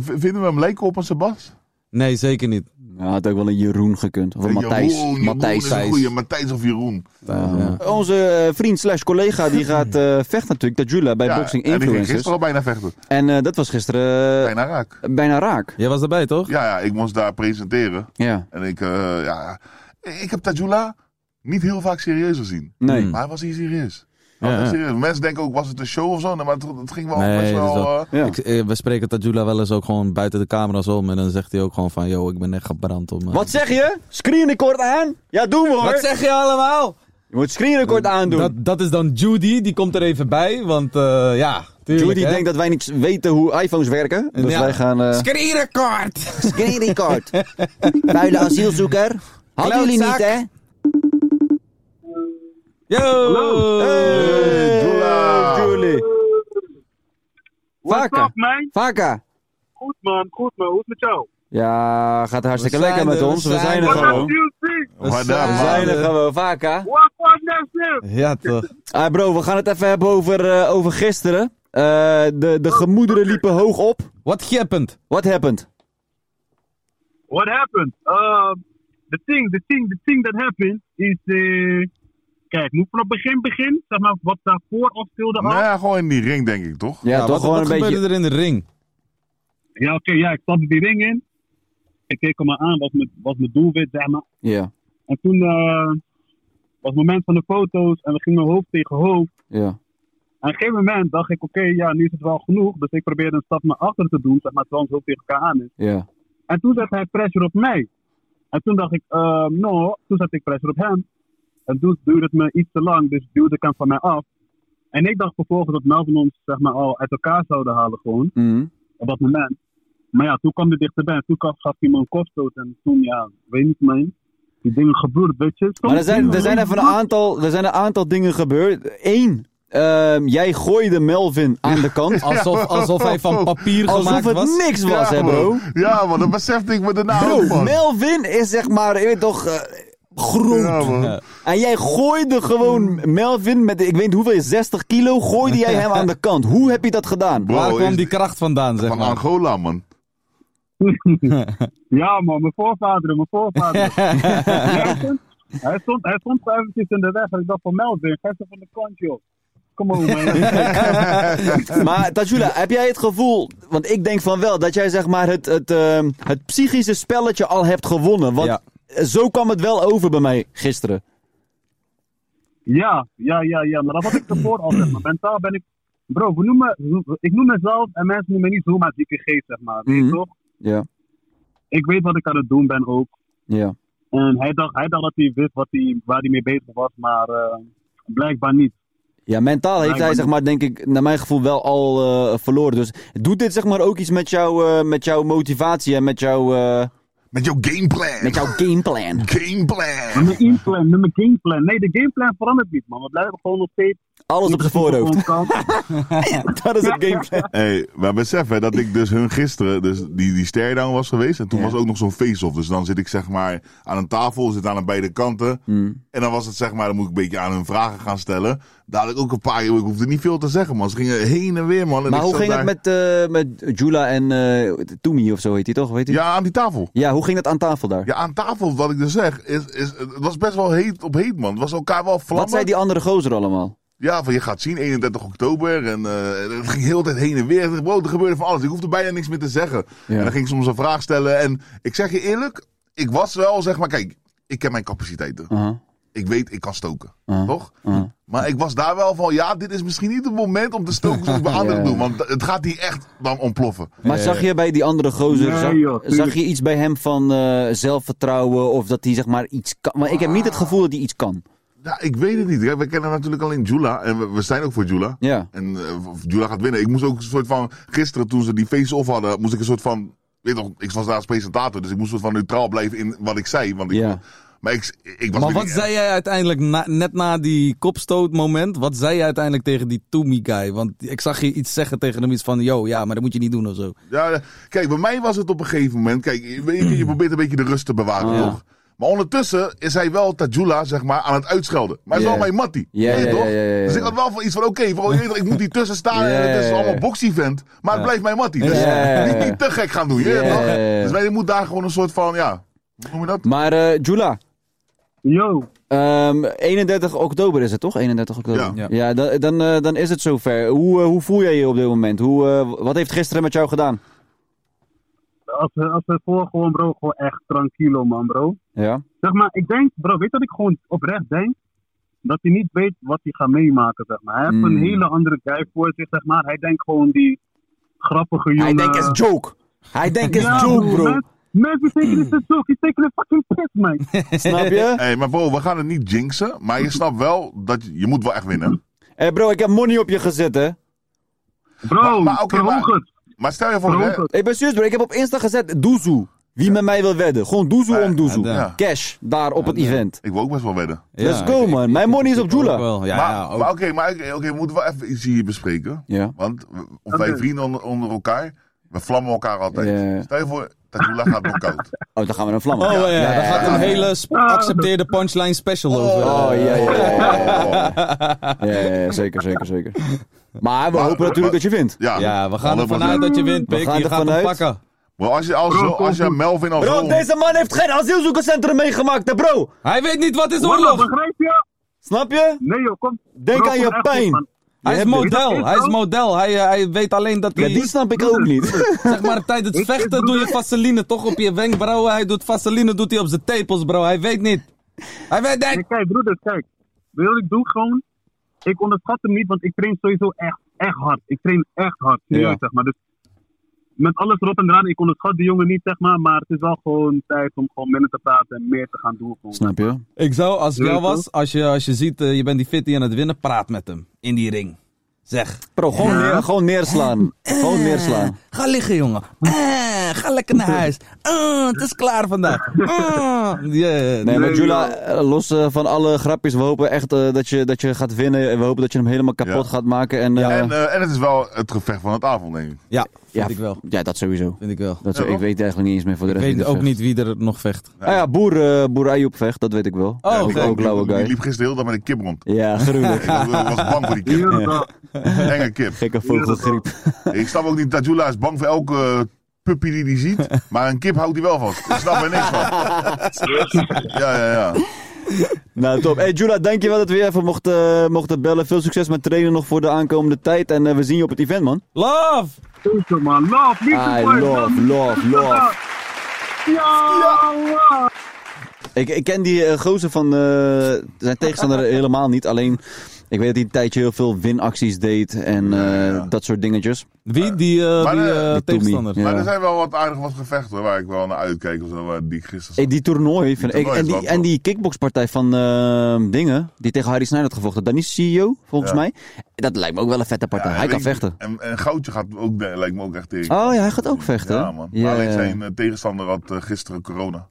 Speaker 4: V- Vinden we hem lijken op een Sebas?
Speaker 5: Nee, zeker niet.
Speaker 3: Ja, Nou, had ook wel een Jeroen gekund. Of een Matthijs.
Speaker 4: Jeroen, Matthijs. is
Speaker 3: Matthijs.
Speaker 4: een goeie. Matthijs of Jeroen.
Speaker 5: Ja.
Speaker 3: Onze eh, vriend slash collega die gaat eh, vechten natuurlijk. Tajula bij
Speaker 4: Ja,
Speaker 3: Boxing
Speaker 4: en die ging
Speaker 3: Influencers.
Speaker 4: gisteren al bijna vechten.
Speaker 3: En eh, dat was gisteren eh,
Speaker 4: Bijna raak.
Speaker 3: bijna raak.
Speaker 5: Jij was erbij, toch?
Speaker 4: Ja, ja, ik moest daar presenteren.
Speaker 3: Ja.
Speaker 4: En ik, eh, ja, ik heb Tajula niet heel vaak serieus gezien.
Speaker 3: Nee.
Speaker 4: Maar hij was hier serieus. Hij
Speaker 5: Hmm. Ja,
Speaker 4: was echt
Speaker 5: ja.
Speaker 4: serieus. Mensen denken ook, was het een show of zo? Nee, Maar het, het ging wel
Speaker 5: Nee,
Speaker 4: best
Speaker 5: dat is
Speaker 4: wel...
Speaker 5: wel-
Speaker 4: eh,
Speaker 3: Ja.
Speaker 5: Ik, eh, we spreken Tajula wel eens ook gewoon buiten de camera's om. En dan zegt hij ook gewoon van, yo, ik ben echt gebrand om... eh,
Speaker 3: Wat zeg je? Screen record aan? Ja, doen we hoor.
Speaker 5: Wat zeg je allemaal?
Speaker 3: Je moet screen record aandoen.
Speaker 5: Eh, Dat, dat is dan Judy, die komt er even bij. Want eh, ja, tuurlijk,
Speaker 3: Judy
Speaker 5: hè.
Speaker 3: denkt dat wij niet weten hoe iPhones werken. Dus
Speaker 5: Ja.
Speaker 3: wij gaan... eh,
Speaker 5: Screenrecord!
Speaker 3: screen record. Vuile asielzoeker. Hadden jullie niet
Speaker 5: Klootzak.
Speaker 3: hè?
Speaker 5: Yo!
Speaker 4: Hey, Tajula!
Speaker 3: Julie.
Speaker 7: What's
Speaker 3: Vaker.
Speaker 7: up, man?
Speaker 3: Vaker.
Speaker 7: Goed, man. Goed, man. Hoe is het met jou?
Speaker 3: Ja, gaat hartstikke
Speaker 5: We zijn
Speaker 3: lekker met
Speaker 5: er, we
Speaker 3: ons. We
Speaker 5: zijn
Speaker 3: zijn er
Speaker 5: er.
Speaker 7: What
Speaker 3: gewoon.
Speaker 7: up, UFC?
Speaker 4: Wat daar,
Speaker 3: We
Speaker 4: man?
Speaker 3: zijn er gewoon, vaak hè?
Speaker 7: What up, Nelson?
Speaker 5: Ja, toch.
Speaker 3: Ah, bro, we gaan het even hebben over, eh, over gisteren. Eh, de, de gemoederen liepen hoog op.
Speaker 5: Wat geppend.
Speaker 3: What happened?
Speaker 7: What happened? Uh, the thing, the thing, the thing that happened is... eh, Kijk, moet ik vanaf begin begin? Zeg maar, wat daarvoor afspeelde al?
Speaker 4: Nou ja, gewoon in die ring, denk ik, toch?
Speaker 3: Ja, toch
Speaker 5: wat,
Speaker 3: gewoon
Speaker 5: wat
Speaker 3: een beetje.
Speaker 5: gebeurde er in de ring?
Speaker 7: Ja, oké. ja, ik stapte die ring in. Ik keek hem maar aan, was mijn, was mijn doelwit, zeg maar.
Speaker 3: Ja,
Speaker 7: En toen eh, was het moment van de foto's en we gingen hoofd tegen hoofd.
Speaker 3: ja.
Speaker 7: En op een gegeven moment dacht ik, oké, ja, nu is het wel genoeg. Dus ik probeerde een stap naar achter te doen, zeg maar, terwijl ons hoofd tegen elkaar aan is.
Speaker 3: Ja,
Speaker 7: En toen zette hij pressure op mij. En toen dacht ik, eh, no, toen zette ik pressure op hem. En toen duurde het me iets te lang, dus duwde ik hem van mij af. En ik dacht vervolgens dat Melvin ons zeg maar, al uit elkaar zouden halen gewoon,
Speaker 3: Mhm.
Speaker 7: op dat moment. Maar ja, toen kwam hij dichterbij en toen gaf gaf hij me een kopstoot. En toen, ja, weet niet man. Die dingen gebeurd, weet je. Soms
Speaker 3: Maar er zijn, er, zijn even een aantal, er zijn een aantal dingen gebeurd. Eén, ehm, jij gooide Melvin aan de kant.
Speaker 5: Alsof, alsof hij van papier
Speaker 3: Alsof
Speaker 5: gemaakt
Speaker 3: het
Speaker 5: was.
Speaker 3: niks was, hè bro.
Speaker 4: man. Ja, man, dat besefte ik me daarna ook,
Speaker 3: Bro,
Speaker 4: man.
Speaker 3: Melvin is zeg maar, je weet toch, eh, groot.
Speaker 4: Ja, man.
Speaker 3: En jij gooide gewoon Melvin met, ik weet niet hoeveel, 60 kilo, gooide jij hem aan de kant. Hoe heb je dat gedaan?
Speaker 4: Bro,
Speaker 5: Waar kwam
Speaker 4: is-
Speaker 5: die kracht vandaan, zeg
Speaker 4: Van
Speaker 5: maar?
Speaker 4: Angola, man.
Speaker 7: Ja, man, mijn voorvaderen, mijn voorvaderen. Ja, hij, stond, hij, stond, hij stond gewoon eventjes in de weg en ik dacht van Melvin, ga ze van de kant, joh. Kom op, man.
Speaker 3: Maar Tajula, heb jij het gevoel, want ik denk van wel, dat jij zeg maar het, het, ehm, het psychische spelletje al hebt gewonnen. Want
Speaker 5: Ja.
Speaker 3: zo kwam het wel over bij mij gisteren.
Speaker 7: Ja, ja, ja, ja. Maar dat had ik ervoor al, zeg maar. Mentaal ben ik... Bro, we noemen, ik noem mezelf en mensen noemen me niet zomaar dikke geest, zeg maar. Weet je
Speaker 3: Mhm.
Speaker 7: toch?
Speaker 3: Ja,
Speaker 7: Ik weet wat ik aan het doen ben ook.
Speaker 3: ja.
Speaker 7: En hij dacht, hij dacht dat hij wist wat hij, waar hij mee bezig was, maar eh, blijkbaar niet.
Speaker 3: Ja, mentaal heeft
Speaker 7: Blijkbaar
Speaker 3: hij zeg
Speaker 7: niet.
Speaker 3: maar denk ik, naar mijn gevoel wel al eh, verloren. Dus doet dit zeg maar ook iets met, jou, eh, met jouw motivatie en met, jou, eh,
Speaker 4: Met jouw gameplan.
Speaker 3: met jouw gameplan?
Speaker 4: gameplan.
Speaker 7: Nummer gameplan, nummer gameplan. Nee, de gameplan verandert niet, man. We blijven gewoon nog steeds.
Speaker 3: Alles op zijn voorhoofd. Dat is het gameplan.
Speaker 4: Hey, maar besef hè, dat ik dus hun gisteren, dus die, die stare-down was geweest. En toen
Speaker 3: Ja.
Speaker 4: was ook nog zo'n face-off. Dus dan zit ik zeg maar aan een tafel, zit aan beide kanten.
Speaker 3: Mm.
Speaker 4: En dan was het zeg maar, dan moet ik een beetje aan hun vragen gaan stellen. Dadelijk ook een paar, ik hoefde niet veel te zeggen man. Ze gingen heen en weer man. En
Speaker 3: Maar
Speaker 4: ik
Speaker 3: hoe
Speaker 4: zat
Speaker 3: ging het
Speaker 4: daar-
Speaker 3: met, eh met Jula en eh Toomie of zo heet hij toch? Weet
Speaker 4: Ja, aan die tafel.
Speaker 3: ja, hoe ging dat aan tafel daar?
Speaker 4: Ja, aan tafel, wat ik dus zeg, is, is, het was best wel heet op heet, man. Het was elkaar wel vlammen.
Speaker 3: Wat zei die andere gozer allemaal?
Speaker 4: Ja, van je gaat zien, 31 oktober. En eh, het ging heel de tijd heen en weer. Wow, er gebeurde van alles. Ik hoefde bijna niks meer te zeggen.
Speaker 3: Ja.
Speaker 4: En dan ging ik soms een vraag stellen. En ik zeg je eerlijk, ik was wel, zeg maar, kijk, ik ken mijn capaciteiten.
Speaker 3: Uh-huh.
Speaker 4: Ik weet, ik kan stoken.
Speaker 3: Uh-huh.
Speaker 4: Toch?
Speaker 3: Uh-huh.
Speaker 4: Maar ik was daar wel van, ja, dit is misschien niet het moment om te stoken zoals ik bij anderen
Speaker 3: Ja.
Speaker 4: doe. Want het gaat hier echt dan ontploffen.
Speaker 3: Maar zag je bij die andere gozer,
Speaker 7: Eh, Nee,
Speaker 3: zag,
Speaker 7: joh, tuurlijk.
Speaker 3: zag je iets bij hem van eh, zelfvertrouwen of dat hij zeg maar iets kan? Maar ik heb niet het gevoel dat hij iets kan.
Speaker 4: Ja, ik weet het niet. We kennen natuurlijk alleen Jula. En we, we zijn ook voor Jula.
Speaker 3: Ja.
Speaker 4: En eh, of Jula gaat winnen. Ik moest ook een soort van. Gisteren toen ze die face-off hadden, moest ik een soort van. Weet je toch, ik was daar als presentator, dus ik moest een soort van neutraal blijven in wat ik zei. Want ik,
Speaker 3: Ja.
Speaker 4: Maar ik, ik was.
Speaker 5: Maar
Speaker 4: weer
Speaker 5: wat
Speaker 4: niet-
Speaker 5: zei jij uiteindelijk na- net na die kopstootmoment? Wat zei jij uiteindelijk tegen die Toomey guy? Want ik zag je iets zeggen tegen hem, iets van, yo, ja, maar dat moet je niet doen of zo.
Speaker 4: Ja, eh, kijk, bij mij was het op een gegeven moment. Kijk, je, weet je, je probeert een beetje de rust te bewaren,
Speaker 3: Mm. Ja.
Speaker 4: toch? Maar ondertussen is hij wel Tajula, zeg maar, aan het uitschelden. Maar hij is
Speaker 3: Ja.
Speaker 4: wel mijn mattie.
Speaker 3: Ja,
Speaker 4: weet je
Speaker 3: ja,
Speaker 4: toch?
Speaker 3: ja, ja, ja, ja.
Speaker 4: Dus ik had wel van iets van, oké, vooral, je weet toch, ik moet hier tussen staan.
Speaker 3: Ja,
Speaker 4: en het
Speaker 3: ja,
Speaker 4: is
Speaker 3: ja.
Speaker 4: allemaal boxy-vent. Maar het blijft mijn mattie. Dus
Speaker 3: Ja.
Speaker 4: niet, niet te gek gaan doen, je weet
Speaker 3: Ja,
Speaker 4: toch?
Speaker 3: ja, ja.
Speaker 4: Dus wij moeten daar gewoon een soort van, ja... Hoe noem je dat?
Speaker 3: Maar eh, Jula,
Speaker 7: Yo,
Speaker 3: ehm, 31 oktober is het toch? 31 oktober.
Speaker 4: Ja.
Speaker 3: Ja, dan, dan, eh, dan is het zover. Hoe, eh, hoe voel jij je op dit moment? Hoe, eh, wat heeft gisteren met jou gedaan?
Speaker 7: als we, als we voor gewoon, bro, gewoon echt tranquilo, man, bro.
Speaker 3: Ja,
Speaker 7: Zeg maar, ik denk, bro, weet dat ik gewoon oprecht denk dat hij niet weet wat hij gaat meemaken, zeg maar. Hij heeft
Speaker 3: Mm.
Speaker 7: een hele andere guy voor zich, zeg maar. Hij denkt gewoon die grappige jongen.
Speaker 3: hij denkt is joke. Hij denkt is
Speaker 7: Ja,
Speaker 3: joke, bro.
Speaker 7: men- Mensen tekenen het zo, die tekenen fucking pit, man.
Speaker 3: Snap je?
Speaker 4: Hey, maar bro, we gaan het niet jinxen. Maar je snapt wel dat je, je moet wel echt winnen.
Speaker 3: Eh, bro, ik heb money op je gezet, hè?
Speaker 7: Bro,
Speaker 4: Maar- maar oké,
Speaker 7: verhoog
Speaker 4: maar-
Speaker 7: het,
Speaker 4: Maar stel je voor...
Speaker 7: verhoog
Speaker 4: Hè,
Speaker 7: het.
Speaker 3: Ik ben serieus, bro. Ik heb op Insta gezet Doezoe. Wie met mij wil wedden? Gewoon Doezoe om Doezoe.
Speaker 5: ja,
Speaker 4: ja.
Speaker 3: Cash, daar op het event.
Speaker 4: ik wil ook best wel wedden.
Speaker 3: Let's
Speaker 5: Ja,
Speaker 3: go,
Speaker 5: ik-
Speaker 3: man.
Speaker 5: ik-
Speaker 3: Mijn
Speaker 5: ik-
Speaker 3: money is
Speaker 5: ik-
Speaker 3: op
Speaker 5: ik
Speaker 3: Jula.
Speaker 5: ook wel. Ja,
Speaker 4: maar
Speaker 5: ja, ook.
Speaker 4: maar oké, maar oké, oké, we moeten wel even iets hier bespreken.
Speaker 3: Ja.
Speaker 4: Want we- of
Speaker 7: Oké.
Speaker 4: wij vrienden onder, onder elkaar, we vlammen elkaar altijd.
Speaker 3: Ja.
Speaker 4: Stel je voor, Tajula gaat nog koud.
Speaker 3: Oh, dan gaan we naar vlammen.
Speaker 5: Oh ja, daar gaat een hele sp-
Speaker 7: Ah.
Speaker 5: accepteerde punchline special over.
Speaker 3: Oh, ja, ja, ja, ja, ja. Ja, ja, ja, zeker, zeker, zeker. Maar we
Speaker 4: Maar-
Speaker 3: hopen natuurlijk dat je wint.
Speaker 4: Ja,
Speaker 5: Ja, we gaan ervan
Speaker 4: 100%.
Speaker 5: uit dat je wint,
Speaker 3: We
Speaker 5: Pik.
Speaker 3: gaan
Speaker 5: Je
Speaker 3: ervan
Speaker 5: gaat hem
Speaker 3: uit.
Speaker 5: pakken.
Speaker 4: Maar als je, als,
Speaker 7: Bro,
Speaker 4: als je
Speaker 7: kom-
Speaker 4: Melvin al
Speaker 3: Bro,
Speaker 4: zo'n-
Speaker 3: deze man heeft geen asielzoekerscentrum meegemaakt, hè, bro.
Speaker 5: Hij weet niet wat is
Speaker 7: Bro,
Speaker 5: oorlog.
Speaker 7: begrijp je?
Speaker 3: Snap je?
Speaker 7: Nee joh, kom.
Speaker 3: Denk
Speaker 7: Bro,
Speaker 3: aan
Speaker 7: kom
Speaker 3: je
Speaker 7: echt op,
Speaker 3: pijn.
Speaker 7: man.
Speaker 5: Hij is
Speaker 3: hebt-
Speaker 5: model. Hij is model. Hij, eh, hij weet alleen dat
Speaker 3: Ja,
Speaker 5: hij...
Speaker 3: die snap ik ook niet.
Speaker 5: Zeg maar tijdens het vechten doe je vaseline toch op je wenkbrauwen. Hij doet vaseline doet hij op zijn tepels, bro. Hij weet niet. Hij weet
Speaker 7: Nee,
Speaker 5: niet.
Speaker 7: kijk, broeder, kijk. Weet je wat ik doe? Gewoon, ik onderschat hem niet, want ik train sowieso echt, echt hard. Ik train echt hard, serieus,
Speaker 3: Ja.
Speaker 7: zeg maar. Dus met alles erop en eraan, ik onderschat die jongen niet, zeg maar. Maar het is wel gewoon tijd om gewoon minder te praten en meer te gaan doen. Gewoon.
Speaker 3: Snap je?
Speaker 5: Ik zou, als ik
Speaker 7: Ja,
Speaker 5: jou
Speaker 7: toch?
Speaker 5: was, als je, als je ziet, eh, je bent die fitty aan het winnen, praat met hem. In die ring. Zeg.
Speaker 3: Bro, gewoon, neer- gewoon neerslaan.
Speaker 4: Eh.
Speaker 3: Gewoon neerslaan.
Speaker 5: Ga liggen, jongen. Eh, ga lekker naar huis. Eh, het is klaar vandaag.
Speaker 4: Ah.
Speaker 5: Eh, yeah.
Speaker 3: Nee, maar
Speaker 7: Nee,
Speaker 3: Jula, eh, los eh, van alle grapjes, we hopen echt eh, dat, je, dat je gaat winnen. En we hopen dat je hem helemaal kapot
Speaker 4: Ja.
Speaker 3: gaat maken. En, eh,
Speaker 4: En, eh, en het is wel het gevecht van het avond, denk ik.
Speaker 5: Ja,
Speaker 3: ja,
Speaker 5: vind ik wel.
Speaker 3: Ja, dat sowieso.
Speaker 5: Vind ik wel.
Speaker 3: Dat zo,
Speaker 4: Ja,
Speaker 3: ik weet eigenlijk niet eens meer voor de
Speaker 5: Ik
Speaker 3: rest.
Speaker 5: weet
Speaker 3: wie er
Speaker 5: ook
Speaker 3: vecht.
Speaker 5: niet wie er nog vecht.
Speaker 3: Ah ja, boer, eh boer Ayoub vecht, dat weet ik wel.
Speaker 5: Oh,
Speaker 4: Ik
Speaker 5: oké.
Speaker 4: ook,
Speaker 3: ook lauwe
Speaker 4: Ik
Speaker 3: guy.
Speaker 4: liep gisteren heel dag met een kip rond.
Speaker 3: Ja,
Speaker 4: Ik
Speaker 3: gruwelijk.
Speaker 4: was- ik was bang voor die kip.
Speaker 7: Ja.
Speaker 4: Enge kip.
Speaker 3: Gekke vogelgriep.
Speaker 4: Ik snap ook niet dat Jula is bang voor elke eh, puppy die hij ziet. Maar een kip houdt hij wel van. Ik snap er niks van. Ja, ja, ja.
Speaker 3: Nou, top. Hey, Jula, dankjewel dat we je even mochten, eh, mochten bellen. Veel succes met trainen nog voor de aankomende tijd. En eh, we zien je op het event, man.
Speaker 5: Love!
Speaker 7: Sowieso, man. Love, liefde,
Speaker 3: I
Speaker 7: boys.
Speaker 3: love, love, love. Ik, ik ken die eh, gozer van eh, zijn tegenstander helemaal niet. Alleen, ik weet dat hij een tijdje heel veel winacties deed en eh, dat soort dingetjes.
Speaker 5: Wie? Die, eh,
Speaker 4: Maar,
Speaker 5: die
Speaker 4: eh,
Speaker 5: eh,
Speaker 4: die
Speaker 5: tegenstander.
Speaker 3: Tommy, ja.
Speaker 4: Maar er zijn wel wat aardig wat gevechten hoor, waar ik wel naar uitkeek. Of zo, waar die ik gisteren
Speaker 3: Hey, Eh, die toernooi, vind
Speaker 4: Die
Speaker 3: ik.
Speaker 4: toernooi
Speaker 3: En
Speaker 4: is
Speaker 3: die,
Speaker 4: wel
Speaker 3: en
Speaker 4: top.
Speaker 3: die kickboxpartij van eh, Dingen, die tegen Harry Snyder had gevochten. Dan is CEO, E volgens
Speaker 4: Ja.
Speaker 3: mij. Dat lijkt me ook wel een vette partij.
Speaker 4: Ja,
Speaker 3: hij
Speaker 4: en
Speaker 3: kan
Speaker 4: ik-
Speaker 3: vechten.
Speaker 4: En, en Goudje gaat ook, de- lijkt me ook echt tegen.
Speaker 3: Oh ja, hij gaat ook vechten.
Speaker 4: Ja, man.
Speaker 3: Ja,
Speaker 4: Maar alleen
Speaker 3: ja.
Speaker 4: zijn eh, tegenstander had eh, gisteren corona.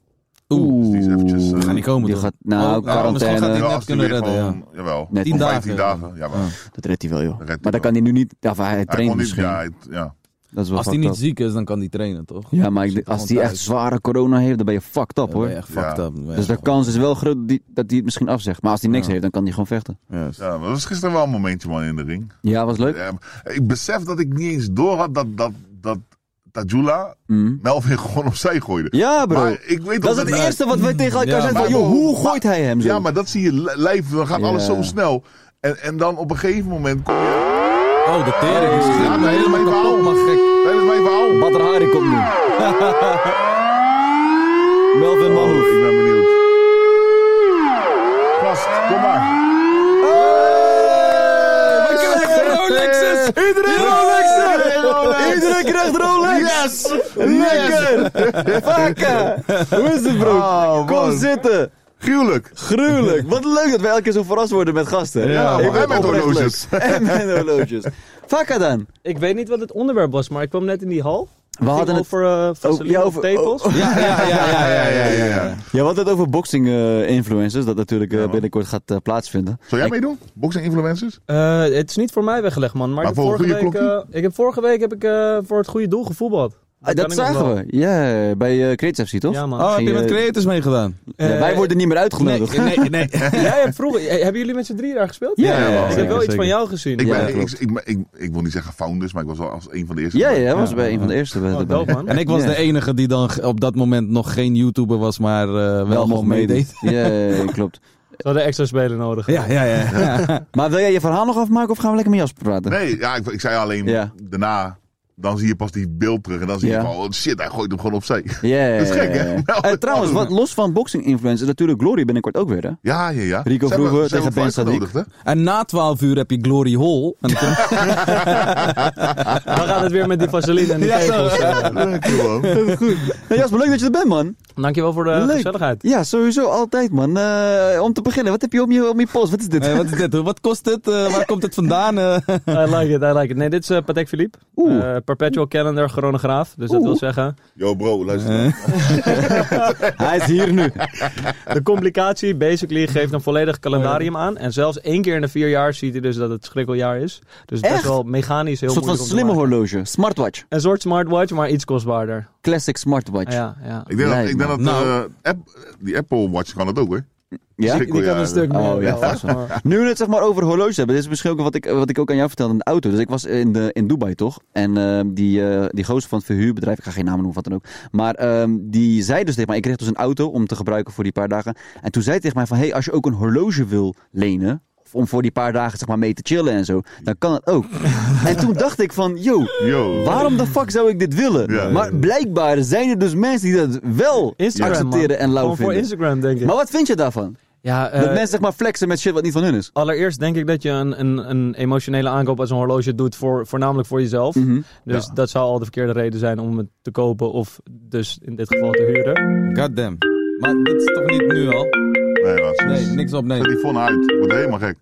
Speaker 5: Oeh,
Speaker 4: die is eventjes, eh,
Speaker 5: gaan niet komen
Speaker 3: Die
Speaker 5: toch?
Speaker 3: gaat, nou,
Speaker 5: Oh, nou, misschien gaat
Speaker 3: quarantaine.
Speaker 5: hij net
Speaker 4: Ja, als die
Speaker 5: kunnen
Speaker 4: weer
Speaker 5: redden,
Speaker 4: gewoon- Jawel.
Speaker 3: Net.
Speaker 4: Om
Speaker 5: Tien
Speaker 4: 15
Speaker 5: dagen. Ah.
Speaker 4: dagen. Jawel. Hij
Speaker 3: Dat redt hij wel, joh.
Speaker 4: redt hij
Speaker 3: maar dan
Speaker 4: wel.
Speaker 3: kan hij nu niet... Ja, of hij traint
Speaker 4: kon niet,
Speaker 3: misschien.
Speaker 4: ja, hij- ja.
Speaker 3: dat is wel
Speaker 5: Als hij
Speaker 3: fucked
Speaker 5: niet
Speaker 3: up.
Speaker 5: ziek is, dan kan hij trainen, toch?
Speaker 3: Ja, maar ik-
Speaker 5: Zit
Speaker 3: als
Speaker 5: gewoon
Speaker 3: hij echt
Speaker 5: thuis.
Speaker 3: zware corona heeft, dan ben je fucked up,
Speaker 5: Ja,
Speaker 3: hoor.
Speaker 5: ben je echt fucked
Speaker 4: Ja.
Speaker 5: up. Dan ben je
Speaker 3: Dus de
Speaker 5: gewoon-
Speaker 3: kans is wel groot die- dat hij het misschien afzegt. Maar als hij niks heeft, dan kan hij gewoon vechten.
Speaker 4: Ja, maar dat was gisteren wel een momentje man in de ring.
Speaker 3: Ja, was leuk.
Speaker 4: Ja, maar ik besef dat ik niet eens door had dat, dat, dat Tajula
Speaker 3: Mm.
Speaker 4: Melvin gewoon opzij gooide.
Speaker 3: Ja, bro.
Speaker 4: Maar ik weet
Speaker 3: dat is
Speaker 4: dat
Speaker 3: het eerste wat wij tegen elkaar
Speaker 5: Ja,
Speaker 3: zeggen.
Speaker 4: maar-
Speaker 3: van, joh, hoe gooit hij hem zo?
Speaker 4: Ja, maar dat zie je li- lijf, dan gaat
Speaker 3: Ja.
Speaker 4: alles zo snel. En, en dan op een gegeven moment kom je...
Speaker 5: Oh, de tering is
Speaker 4: Ja,
Speaker 5: gegaan.
Speaker 4: dat is mijn verhaal.
Speaker 5: kapot, maar gek.
Speaker 4: Dat is mijn verhaal.
Speaker 3: Badr Hari komt nu. Melvin
Speaker 4: Oh,
Speaker 3: Manhoef.
Speaker 4: ik ben benieuwd. Gast, kom maar.
Speaker 3: Hey, we krijgen Rolexes! Iedereen Rolexen! Iedereen krijgt Rolex!
Speaker 4: Yes!
Speaker 3: Lekker! Vakken! Hoe is het, bro?
Speaker 4: Oh,
Speaker 3: Kom
Speaker 4: man.
Speaker 3: zitten!
Speaker 4: Gruwelijk.
Speaker 3: Gruwelijk! Wat leuk dat we elke keer zo verrast worden met gasten.
Speaker 4: Ja,
Speaker 3: Ik
Speaker 4: man.
Speaker 3: ben
Speaker 4: En met
Speaker 3: oprecht
Speaker 4: horloges.
Speaker 3: leuk. En met horloges. Vakka dan.
Speaker 6: Ik weet niet wat het onderwerp was, maar ik kwam net in die hal.
Speaker 3: We
Speaker 6: Ging
Speaker 3: hadden het
Speaker 6: over eh vaseline
Speaker 3: ja,
Speaker 6: op
Speaker 3: over-
Speaker 6: tepels.
Speaker 5: Ja, ja, ja, ja, ja, ja.
Speaker 4: ja, ja.
Speaker 3: Ja, wat het over boxing eh, influencers, dat natuurlijk eh,
Speaker 4: man.
Speaker 3: binnenkort gaat eh, plaatsvinden.
Speaker 4: Zou jij meedoen? Boxing influencers?
Speaker 6: Eh, het is niet voor mij weggelegd, man. Maar,
Speaker 4: Maar
Speaker 6: ik heb
Speaker 4: voor een
Speaker 6: vorige
Speaker 4: goede
Speaker 6: week,
Speaker 4: klokkie?
Speaker 6: eh, ik heb vorige week heb ik, eh, voor het goede doel gevoetbald.
Speaker 3: Ah, dat zagen we. Ja, bij eh Creates FC, toch?
Speaker 6: Ja, man. Eh,
Speaker 5: Oh, heb je
Speaker 3: Ging,
Speaker 5: met
Speaker 3: eh,
Speaker 5: creators meegedaan?
Speaker 3: ja, wij worden niet meer uitgenodigd.
Speaker 5: Nee, nee, nee.
Speaker 6: Jij hebt vroeger, eh, hebben jullie met z'n drie daar gespeeld?
Speaker 3: Ja, ja, ja,
Speaker 6: ik
Speaker 3: zeker,
Speaker 6: heb wel iets van
Speaker 5: zeker.
Speaker 6: jou gezien.
Speaker 4: Ik,
Speaker 6: ja,
Speaker 4: ben, ik,
Speaker 3: klopt.
Speaker 4: ik, ben- ik, ik wil niet zeggen founders, maar ik was wel als een van de eerste.
Speaker 3: Ja, ja, hij was
Speaker 5: Ja,
Speaker 3: bij
Speaker 5: ja,
Speaker 3: een van de eerste. eh, bij-
Speaker 6: Oh,
Speaker 3: bij-
Speaker 6: dope, man.
Speaker 5: En ik was
Speaker 3: Ja.
Speaker 5: de enige die dan g- op dat moment nog geen YouTuber was, maar eh, wel nog meedeed.
Speaker 3: Ja, ja, ja, klopt.
Speaker 6: Ze hadden extra spelen nodig.
Speaker 5: Ja, ja, ja.
Speaker 3: Maar wil jij je verhaal nog afmaken of gaan we lekker met Jasper praten?
Speaker 4: Nee, ja, ik, ik zei alleen
Speaker 3: Ja.
Speaker 4: daarna. Dan zie je pas die beeld terug en dan zie
Speaker 3: Ja.
Speaker 4: je van, oh shit, hij gooit hem gewoon opzij.
Speaker 3: Ja, ja,
Speaker 4: Dat is
Speaker 3: ja,
Speaker 4: gek, hè?
Speaker 3: ja.
Speaker 4: Nou,
Speaker 3: Eh, trouwens, wat, los van boxing influencers, natuurlijk Glory binnenkort ook weer, hè?
Speaker 4: Ja, ja, ja.
Speaker 3: Rico
Speaker 4: Zijn we-
Speaker 3: Vroeger
Speaker 4: zijn we
Speaker 3: tegen Ben
Speaker 4: voor uitgenodigd, hè?
Speaker 5: En na 12 uur heb je Glory Hall. En dan kom-
Speaker 6: Dan gaat het weer met die vaseline en die tepels.
Speaker 4: Ja, cool, man.
Speaker 3: Hey, Nou, Jasper, leuk dat je er bent, man.
Speaker 6: Dankjewel voor de
Speaker 3: Leuk.
Speaker 6: gezelligheid.
Speaker 3: Ja, sowieso, altijd, man. Eh, om te beginnen, wat heb je om je, om je pols? Wat is dit?
Speaker 5: Eh, wat is dit? Wat kost dit? Eh, waar komt het vandaan? Eh,
Speaker 6: I like it, I like it. Nee, dit is eh, Patek Philippe.
Speaker 3: Oeh.
Speaker 6: Eh, Perpetual Calendar chronograaf. Dus dat
Speaker 3: Oeh.
Speaker 6: wil zeggen,
Speaker 4: Yo bro, luister.
Speaker 3: Eh. Hij is hier nu.
Speaker 6: de complicatie basically geeft een volledig calendarium
Speaker 3: Oh,
Speaker 6: aan. En zelfs één keer in de vier jaar ziet hij dus dat het schrikkeljaar is. Dus het is
Speaker 3: Echt?
Speaker 6: best wel mechanisch heel
Speaker 3: Een soort van
Speaker 6: moeilijk om te
Speaker 3: slimme
Speaker 6: maken. Eh.
Speaker 3: horloge. Smartwatch.
Speaker 6: Een soort smartwatch, maar iets kostbaarder.
Speaker 3: Classic smartwatch.
Speaker 6: Ja, ja.
Speaker 4: Ik denk dat,
Speaker 3: Nee,
Speaker 4: ik denk dat
Speaker 3: man.
Speaker 5: Nou.
Speaker 4: eh, app, die Apple Watch kan het ook, hoor.
Speaker 3: Ja?
Speaker 4: Schrikkel, ja.
Speaker 3: meer, Oh, ja, ja. vast wel. Nu we het zeg maar over horloges hebben, dit is misschien ook wat ik, eh, wat ik ook aan jou vertelde in de auto. Dus ik was in, de, in Dubai toch? En ehm, die, eh, die gozer van het verhuurbedrijf, ik ga geen namen noemen of wat dan ook. Maar ehm, die zei dus tegen mij, ik kreeg dus een auto om te gebruiken voor die paar dagen. En toen zei hij tegen mij van, hey, als je ook een horloge wil lenen... of Om voor die paar dagen zeg maar mee te chillen en zo. Dan kan het ook. En toen dacht ik van, yo,
Speaker 4: Yo.
Speaker 3: waarom de fuck zou ik dit willen?
Speaker 4: Ja.
Speaker 3: Maar blijkbaar zijn er dus mensen die dat wel
Speaker 6: Instagram,
Speaker 3: accepteren
Speaker 6: man.
Speaker 3: en lauw
Speaker 6: Gewoon voor
Speaker 3: vinden.
Speaker 6: Instagram, denk ik.
Speaker 3: Maar wat vind je daarvan?
Speaker 6: ja, eh,
Speaker 3: Dat mensen zeg maar flexen met shit wat niet van hun is.
Speaker 6: Allereerst denk ik dat je een, een, een emotionele aankoop als een horloge doet, voor, voornamelijk voor jezelf.
Speaker 3: Mhm.
Speaker 6: Dus dat zou al de verkeerde reden zijn om het te kopen of dus in dit geval te huren.
Speaker 5: Goddamn. Maar dit is toch niet nu al?
Speaker 4: Nee, wat?
Speaker 5: Nee, niks
Speaker 4: Zet
Speaker 5: opnemen.
Speaker 4: die phone uit. Ik word helemaal gek.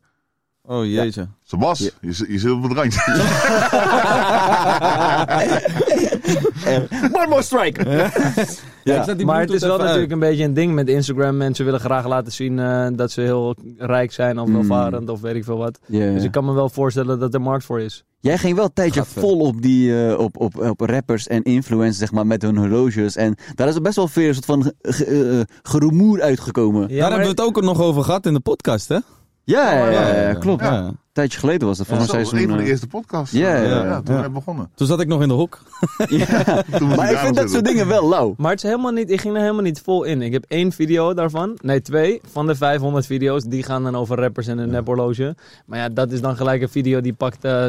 Speaker 5: Oh jeetje.
Speaker 4: Sebas, je, zit- je zit op het randje.
Speaker 3: One more strike!
Speaker 5: Ja,
Speaker 3: Ja.
Speaker 5: ik zet die
Speaker 6: Maar het is wel
Speaker 5: Bluetooth even
Speaker 6: natuurlijk
Speaker 5: uit.
Speaker 6: een beetje een ding met Instagram. Mensen willen graag laten zien eh, dat ze heel rijk zijn of welvarend of weet ik veel wat.
Speaker 3: Ja.
Speaker 6: Dus ik kan me wel voorstellen dat er markt voor is.
Speaker 3: Jij ging wel een tijdje
Speaker 5: Gadver.
Speaker 3: vol op, die, eh, op, op, op rappers en influencers, zeg maar, met hun horloges. En daar is er best wel veel soort van ge- ge- eh, gerumoer uitgekomen.
Speaker 6: Ja,
Speaker 5: Daar hebben we het ook nog over gehad in de podcast, hè?
Speaker 3: Ja, ja, ja, ja,
Speaker 5: ja, ja.
Speaker 3: klopt.
Speaker 5: Ja.
Speaker 3: tijdje geleden was dat. Volgens
Speaker 4: Zo,
Speaker 3: mij
Speaker 4: een
Speaker 3: seizoen...
Speaker 4: van de
Speaker 3: eh,
Speaker 4: eerste podcasts.
Speaker 3: Ja,
Speaker 4: eh,
Speaker 3: ja, ja.
Speaker 4: toen
Speaker 5: Ja.
Speaker 4: we begonnen.
Speaker 5: Toen zat ik nog in de hok.
Speaker 3: ja.
Speaker 4: Toen moest
Speaker 3: Maar
Speaker 4: daarom
Speaker 3: ik vind dat soort
Speaker 4: zitten.
Speaker 3: dingen wel lauw.
Speaker 6: Maar het is helemaal niet, ik ging er helemaal niet vol in. Ik heb één video daarvan. Nee, twee van de 500 video's. Die gaan dan over rappers en een nephorloge. Maar ja, dat is dan gelijk een video die pakt eh,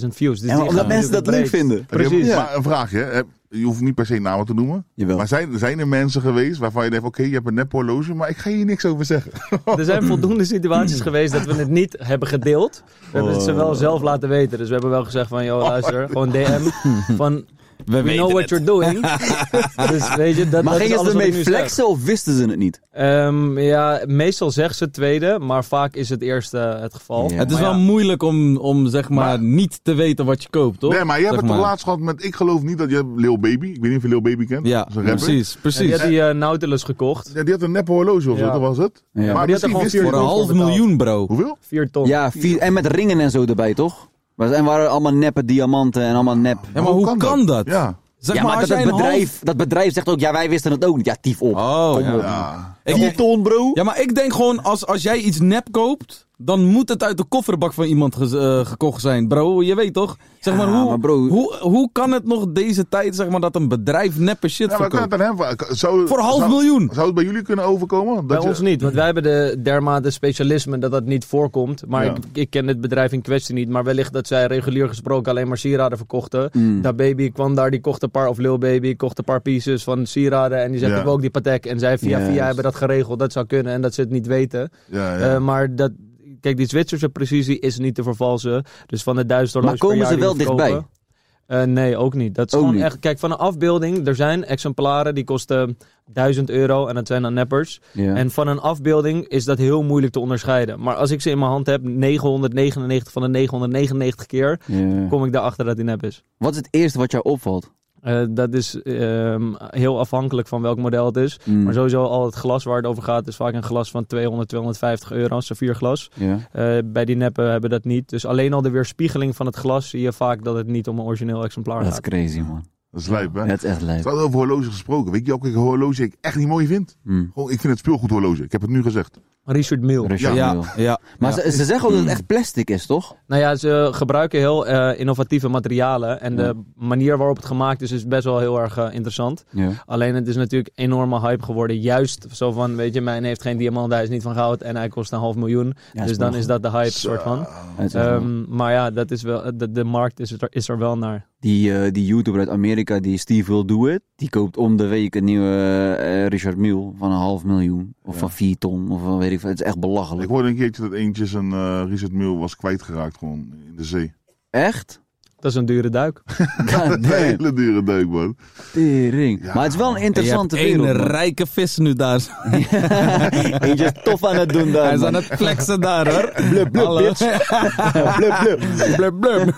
Speaker 6: 600.000 views. Dus
Speaker 3: En
Speaker 6: die
Speaker 3: omdat
Speaker 6: gaat
Speaker 3: mensen dat leuk
Speaker 6: natuurlijk breed.
Speaker 3: vinden.
Speaker 4: Heb je-
Speaker 6: Precies.
Speaker 4: Maar een vraagje. hè. Je hoeft niet per se namen te noemen.
Speaker 3: Jawel.
Speaker 4: Maar zijn, zijn er mensen geweest waarvan je denkt, oké, je hebt een nep horloge, maar ik ga hier niks over zeggen.
Speaker 6: Er zijn
Speaker 4: Mm.
Speaker 6: voldoende situaties geweest dat we het niet hebben gedeeld. We hebben het ze wel zelf laten weten. Dus we hebben wel gezegd van, joh, luister, gewoon DM. Van, we,
Speaker 5: weten
Speaker 6: know what
Speaker 5: het.
Speaker 6: you're doing. dus weet je, dat,
Speaker 3: Maar
Speaker 6: dat is
Speaker 3: gingen ze
Speaker 6: alles wat ik nu
Speaker 3: ermee
Speaker 6: zeg.
Speaker 3: flexen of wisten ze het niet?
Speaker 6: Ehm, ja, meestal zegt ze het tweede, maar vaak is het eerste het geval.
Speaker 3: Ja.
Speaker 5: Het is
Speaker 6: Maar
Speaker 5: wel
Speaker 6: ja,
Speaker 5: moeilijk om, om zeg maar, niet te weten wat je koopt, toch?
Speaker 4: Nee, maar jij hebt
Speaker 5: Zeg
Speaker 4: het toch laatst gehad met, ik geloof niet dat je Lil Baby, ik weet niet of je Lil Baby kent.
Speaker 5: Ja,
Speaker 4: Dat is een rapper.
Speaker 5: precies,
Speaker 6: die
Speaker 5: precies.
Speaker 6: had die eh, Nautilus gekocht.
Speaker 4: Ja, die had een nep horloge of
Speaker 6: Ja.
Speaker 4: zo, dat was het.
Speaker 3: Ja. Maar
Speaker 6: die had
Speaker 4: misschien
Speaker 6: er gewoon
Speaker 4: wist
Speaker 6: vier
Speaker 4: hij
Speaker 5: Voor een
Speaker 4: het ook.
Speaker 5: half
Speaker 6: betaald.
Speaker 5: miljoen, bro.
Speaker 4: Hoeveel?
Speaker 6: 4 ton.
Speaker 3: Ja, vier, en met ringen en zo erbij, toch? Maar- En waren allemaal neppe diamanten en allemaal nep.
Speaker 5: Ja, maar hoe kan dat?
Speaker 4: Ja.
Speaker 5: Zeg
Speaker 3: ja,
Speaker 5: maar,
Speaker 3: maar
Speaker 5: als
Speaker 3: dat, dat
Speaker 5: jij een
Speaker 3: bedrijf, dat bedrijf zegt ook, ja, wij wisten het ook niet. Ja, tief op.
Speaker 5: half- Oh,
Speaker 3: Kom op.
Speaker 5: ja.
Speaker 4: Ja.
Speaker 5: Ik-
Speaker 3: Vier ton, bro.
Speaker 5: Ja, maar ik denk gewoon, als, als jij iets nep koopt, dan moet het uit de kofferbak van iemand gez- eh, gekocht zijn, bro. Je weet toch? Zeg maar,
Speaker 3: Ja,
Speaker 5: hoe,
Speaker 3: maar bro-
Speaker 5: hoe, hoe kan het nog deze tijd, zeg maar, dat een bedrijf neppe shit
Speaker 4: Ja, maar kan
Speaker 5: verkoopt?
Speaker 4: het aan hem? vragen? Zou,
Speaker 5: Voor half
Speaker 4: zou-
Speaker 5: miljoen.
Speaker 4: Zou het bij jullie kunnen overkomen?
Speaker 6: Bij
Speaker 4: Dat je-
Speaker 6: ons niet, want wij hebben de dermate specialisme dat dat niet voorkomt. Maar
Speaker 4: Ja.
Speaker 6: ik, ik ken het bedrijf in kwestie niet. Maar wellicht dat zij regulier gesproken alleen maar sieraden verkochten.
Speaker 3: Mm.
Speaker 6: Dat baby kwam daar, die kocht een paar, of Lil Baby, kocht een paar pieces van sieraden. En die zegt,
Speaker 4: Ja.
Speaker 6: ik wil ook "Oh, die Patek. En zij via
Speaker 3: Ja,
Speaker 6: via
Speaker 3: dus-
Speaker 6: hebben dat geregeld. Dat zou kunnen en dat ze het niet weten.
Speaker 4: Ja, ja.
Speaker 6: Eh, maar dat, kijk, die Zwitserse precisie is niet te vervalsen. Dus van de duizend horloges
Speaker 3: Maar komen
Speaker 6: per jaar
Speaker 3: ze
Speaker 6: die
Speaker 3: wel
Speaker 6: we verkopen-
Speaker 3: dichtbij?
Speaker 6: Eh, nee, ook niet. Dat is
Speaker 3: Ook
Speaker 6: gewoon
Speaker 3: niet.
Speaker 6: echt. Kijk, van een afbeelding, er zijn exemplaren die kosten 1000 euro en dat zijn dan neppers.
Speaker 3: Ja.
Speaker 6: En van een afbeelding is dat heel moeilijk te onderscheiden. Maar als ik ze in mijn hand heb, 999 van de 999 keer,
Speaker 3: Ja.
Speaker 6: kom ik daarachter dat die nep is.
Speaker 3: Wat is het eerste wat jou opvalt?
Speaker 6: Eh, dat is ehm, heel afhankelijk van welk model het is.
Speaker 3: Mm.
Speaker 6: Maar sowieso al het glas waar het over gaat is vaak een glas van 200, 250 euro, een saffierglas.
Speaker 3: Ja.
Speaker 6: Eh, bij die neppen hebben dat niet. Dus alleen al de weerspiegeling van het glas zie je vaak dat het niet om een origineel exemplaar
Speaker 3: Dat is
Speaker 6: gaat.
Speaker 3: crazy, man.
Speaker 4: Dat is lijp, hè?
Speaker 3: Dat is echt
Speaker 4: We
Speaker 3: lijp.
Speaker 4: hadden over horloge gesproken. Weet je ook welke horloge ik echt niet mooi vind?
Speaker 3: Hm.
Speaker 4: Gewoon, ik vind het speelgoedhorloge. Ik heb het nu gezegd.
Speaker 6: Richard Mille.
Speaker 3: Richard
Speaker 5: ja,
Speaker 3: Mille.
Speaker 5: ja, ja.
Speaker 3: Maar ze, ze zeggen ook dat het echt plastic is, toch?
Speaker 6: Nou ja, ze gebruiken heel eh, innovatieve materialen. En de manier waarop het gemaakt is, is best wel heel erg eh, interessant.
Speaker 3: Ja.
Speaker 6: Alleen het is natuurlijk enorme hype geworden. Juist zo van, weet je, mijn heeft geen diamant, hij is niet van goud en hij kost een half miljoen.
Speaker 3: is
Speaker 6: dus dan
Speaker 3: belachelijk.
Speaker 6: is dat de hype, soort van.
Speaker 3: Het is echt lijp.
Speaker 6: Ehm, maar ja, dat is wel, de, de markt is er, is er wel naar.
Speaker 3: Die, eh, die YouTuber uit Amerika, die Steve Will Do It, die koopt om de week een nieuwe eh, Richard Mille van een half miljoen. Of van vier ton, of van weet ik veel. Het is echt
Speaker 4: Ik
Speaker 3: belachelijk.
Speaker 4: hoorde een keertje dat eentje zijn eh Richard Mille was kwijtgeraakt gewoon in de zee.
Speaker 3: Echt?
Speaker 6: Dat is een dure duik.
Speaker 3: God
Speaker 4: Een
Speaker 3: damn.
Speaker 4: hele dure deuk, man.
Speaker 3: Tering. Maar het is wel een interessante
Speaker 5: je hebt
Speaker 3: wereld.
Speaker 5: één
Speaker 3: man.
Speaker 5: rijke vis nu daar.
Speaker 3: Eentje is tof aan het doen daar.
Speaker 5: Hij is
Speaker 3: man.
Speaker 5: aan het flexen daar, hoor.
Speaker 3: Blub, blub,
Speaker 5: Hallo.
Speaker 3: bitch. blub, blub.
Speaker 5: blub, blub.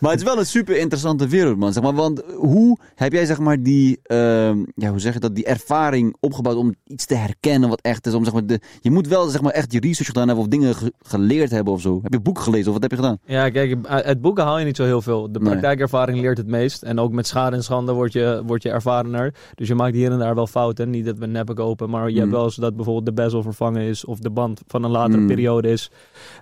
Speaker 3: Maar het is wel een super interessante wereld, man. Zeg maar, want hoe heb jij zeg maar, die, ehm, ja, hoe zeg je dat, die ervaring opgebouwd om iets te herkennen wat echt is? Om, zeg maar, de, je moet wel zeg maar, echt je research gedaan hebben of dingen ge- geleerd hebben of zo. Heb je boeken gelezen of wat heb je gedaan?
Speaker 6: Ja, kijk, uit boeken haal je niet zo heel veel. De
Speaker 3: Nee.
Speaker 6: praktijkervaring leert het meest. En ook met schade en schande word je, word je ervarener. Dus je maakt hier en daar wel fouten. Niet dat we neppen kopen, maar je
Speaker 3: Mm.
Speaker 6: hebt wel eens dat bijvoorbeeld de bezel vervangen is. Of de band van een latere periode is.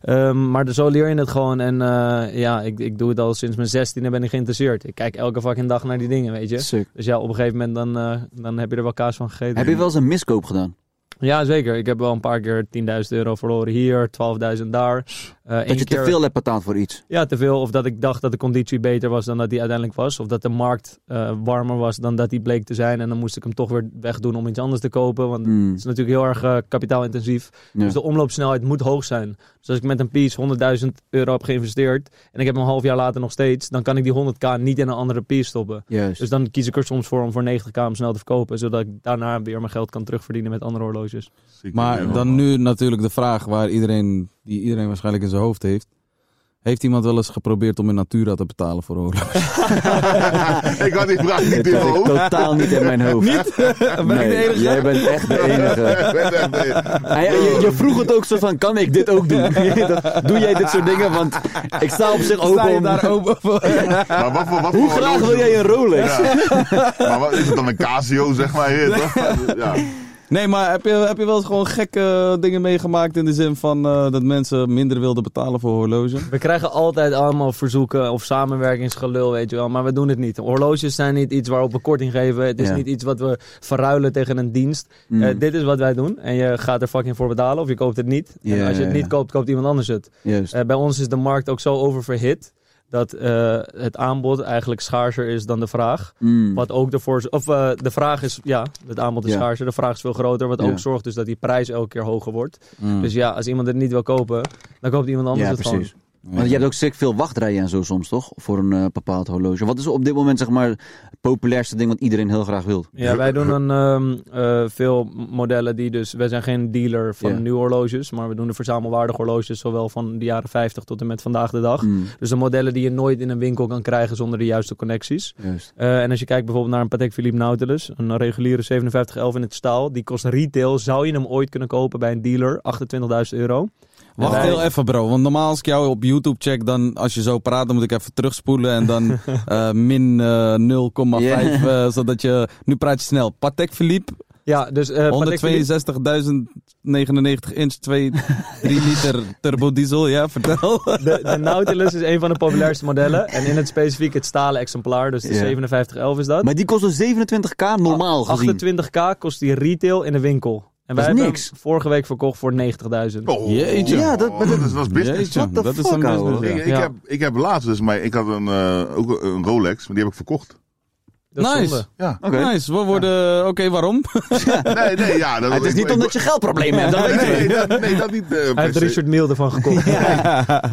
Speaker 6: Ehm, maar zo leer je het gewoon. En eh, ja, ik, ik doe het al sinds mijn zestiende ben ik geïnteresseerd. Ik kijk elke fucking dag naar die dingen, weet je.
Speaker 3: Sick.
Speaker 6: Dus ja, op een gegeven moment dan, eh, dan heb je er wel kaas van gegeten.
Speaker 3: Heb je wel eens een miskoop gedaan?
Speaker 6: Ja, zeker. Ik heb wel een paar keer 10.000 euro verloren hier, 12.000 daar. Eh, één
Speaker 3: Dat je te
Speaker 6: keer-
Speaker 3: veel hebt betaald voor iets?
Speaker 6: ja, te veel. Of dat ik dacht dat de conditie beter was dan dat die uiteindelijk was. Of dat de markt eh, warmer was dan dat die bleek te zijn. En dan moest ik hem toch weer wegdoen om iets anders te kopen. Want
Speaker 3: Hmm.
Speaker 6: het is natuurlijk heel erg eh, kapitaalintensief.
Speaker 3: Ja.
Speaker 6: Dus de omloopsnelheid moet hoog zijn. Dus als ik met een piece 100.000 euro heb geïnvesteerd. en ik heb hem een half jaar later nog steeds. dan kan ik die 100k niet in een andere piece stoppen.
Speaker 3: Juist.
Speaker 6: Dus dan kies ik er soms voor om voor 90k om snel te verkopen. zodat ik daarna weer mijn geld kan terugverdienen met andere horloges.
Speaker 4: Ziek,
Speaker 5: Maar
Speaker 4: man.
Speaker 5: dan nu natuurlijk de vraag waar iedereen, die iedereen waarschijnlijk in zijn hoofd heeft. Heeft iemand wel eens geprobeerd om in Natura te betalen voor oorlog?
Speaker 4: ik had die vraag niet
Speaker 3: Dit
Speaker 4: in
Speaker 3: had
Speaker 4: mijn
Speaker 3: ik
Speaker 4: hoofd.
Speaker 3: totaal niet in mijn hoofd.
Speaker 5: ik de
Speaker 3: Nee,
Speaker 5: enige?
Speaker 3: jij bent echt de enige. Ah ja, je, je vroeg het ook zo van, kan ik dit ook doen? Dat- Doe jij dit soort dingen? Want ik sta op zich
Speaker 5: Sta
Speaker 3: open
Speaker 5: je
Speaker 3: om...
Speaker 5: daar open voor?
Speaker 4: Maar wat voor, wat
Speaker 3: Hoe
Speaker 4: voor
Speaker 3: graag
Speaker 4: horloge-
Speaker 3: wil jij een Rolex?
Speaker 4: Ja. Maar wat is het dan een Casio, zeg maar? Hier, toch? Ja.
Speaker 5: Nee, maar heb je, heb je wel eens gewoon gekke dingen meegemaakt in de zin van eh, dat mensen minder wilden betalen voor horloges?
Speaker 6: We krijgen altijd allemaal verzoeken of samenwerkingsgelul, weet je wel. Maar we doen het niet. Horloges zijn niet iets waarop we korting geven. Het is
Speaker 3: Ja.
Speaker 6: niet iets wat we verruilen tegen een dienst.
Speaker 3: Mm.
Speaker 6: Eh, dit is wat wij doen. En je gaat er fucking voor betalen of je koopt het niet.
Speaker 3: Ja,
Speaker 6: en als je het
Speaker 3: ja,
Speaker 6: niet
Speaker 3: ja.
Speaker 6: koopt, koopt iemand anders het.
Speaker 3: Juist.
Speaker 6: Eh, bij ons is de markt ook zo oververhit dat eh, het aanbod eigenlijk schaarser is dan de vraag.
Speaker 3: Mm.
Speaker 6: Wat ook ervoor... Of eh, de vraag is... Ja, het aanbod is
Speaker 3: Ja.
Speaker 6: schaarser. De vraag is veel groter. Wat
Speaker 3: Ja.
Speaker 6: ook zorgt dus dat die prijs elke keer hoger wordt.
Speaker 5: Mm.
Speaker 6: Dus ja, als iemand het niet wil kopen... dan koopt iemand anders
Speaker 3: Ja,
Speaker 6: het gewoon.
Speaker 3: precies. Want je hebt ook zeker veel wachtrijen en zo soms, toch? Voor een eh, bepaald horloge. Wat is op dit moment zeg maar het populairste ding wat iedereen heel graag wil?
Speaker 6: Ja, wij doen een, ehm, eh, veel modellen die dus... Wij zijn geen dealer van
Speaker 3: Ja.
Speaker 6: nieuwe horloges, maar we doen de verzamelwaardige horloges... zowel van de jaren 50 tot en met vandaag de dag.
Speaker 3: Mm,
Speaker 6: Dus de modellen die je nooit in een winkel kan krijgen zonder de juiste connecties.
Speaker 3: juist.
Speaker 6: Eh, en als je kijkt bijvoorbeeld naar een Patek Philippe Nautilus, een reguliere 5711 in het staal, die kost retail, zou je hem ooit kunnen kopen bij een dealer, 28.000 euro.
Speaker 5: Wacht
Speaker 6: Nee.
Speaker 5: heel even, bro. Want normaal als ik jou op YouTube check, dan als je zo praat, dan moet ik even terugspoelen. En dan eh, min eh, 0,5. eh, zodat je. Nu praat je snel. Patek Philippe,
Speaker 6: Ja, dus eh, Patek Philippe,
Speaker 5: 162.099 inch, 2, 3 liter turbo diesel. Ja, vertel.
Speaker 6: de, de Nautilus is een van de populairste modellen. En in het specifiek het stalen exemplaar, dus de
Speaker 3: Ja.
Speaker 6: 5711 is dat.
Speaker 3: Maar die kost dus 27k normaal gezien.
Speaker 6: 28k kost die retail in de winkel. En wij
Speaker 3: is
Speaker 6: hebben
Speaker 3: niks.
Speaker 6: hem vorige week verkocht voor 90.000.
Speaker 4: Oh,
Speaker 5: Jeetje.
Speaker 3: Ja, dat- maar dat-
Speaker 4: dat was business.
Speaker 5: Jeetje,
Speaker 3: What the
Speaker 5: dat is
Speaker 3: fuck,
Speaker 5: een eh, business,
Speaker 3: ouwe?
Speaker 5: ja.
Speaker 4: Ik, ik,
Speaker 6: Ja.
Speaker 4: heb, ik heb laatst dus, maar ik had een, eh, ook een Rolex, maar die heb ik verkocht.
Speaker 6: Dat is
Speaker 5: Nice.
Speaker 6: zonde.
Speaker 4: Ja.
Speaker 3: Oké.
Speaker 5: Nice, we worden. Oké, waarom?
Speaker 4: Nee, nee, ja. Dat,
Speaker 3: Ah, Het is
Speaker 4: ik-
Speaker 3: niet
Speaker 4: ik-
Speaker 3: omdat je geldproblemen hebt, dat
Speaker 4: Nee,
Speaker 3: weet ik.
Speaker 4: nee, dat, nee, dat niet. eh,
Speaker 6: Hij
Speaker 4: per
Speaker 6: heeft
Speaker 4: se.
Speaker 6: Richard Milde van gekocht.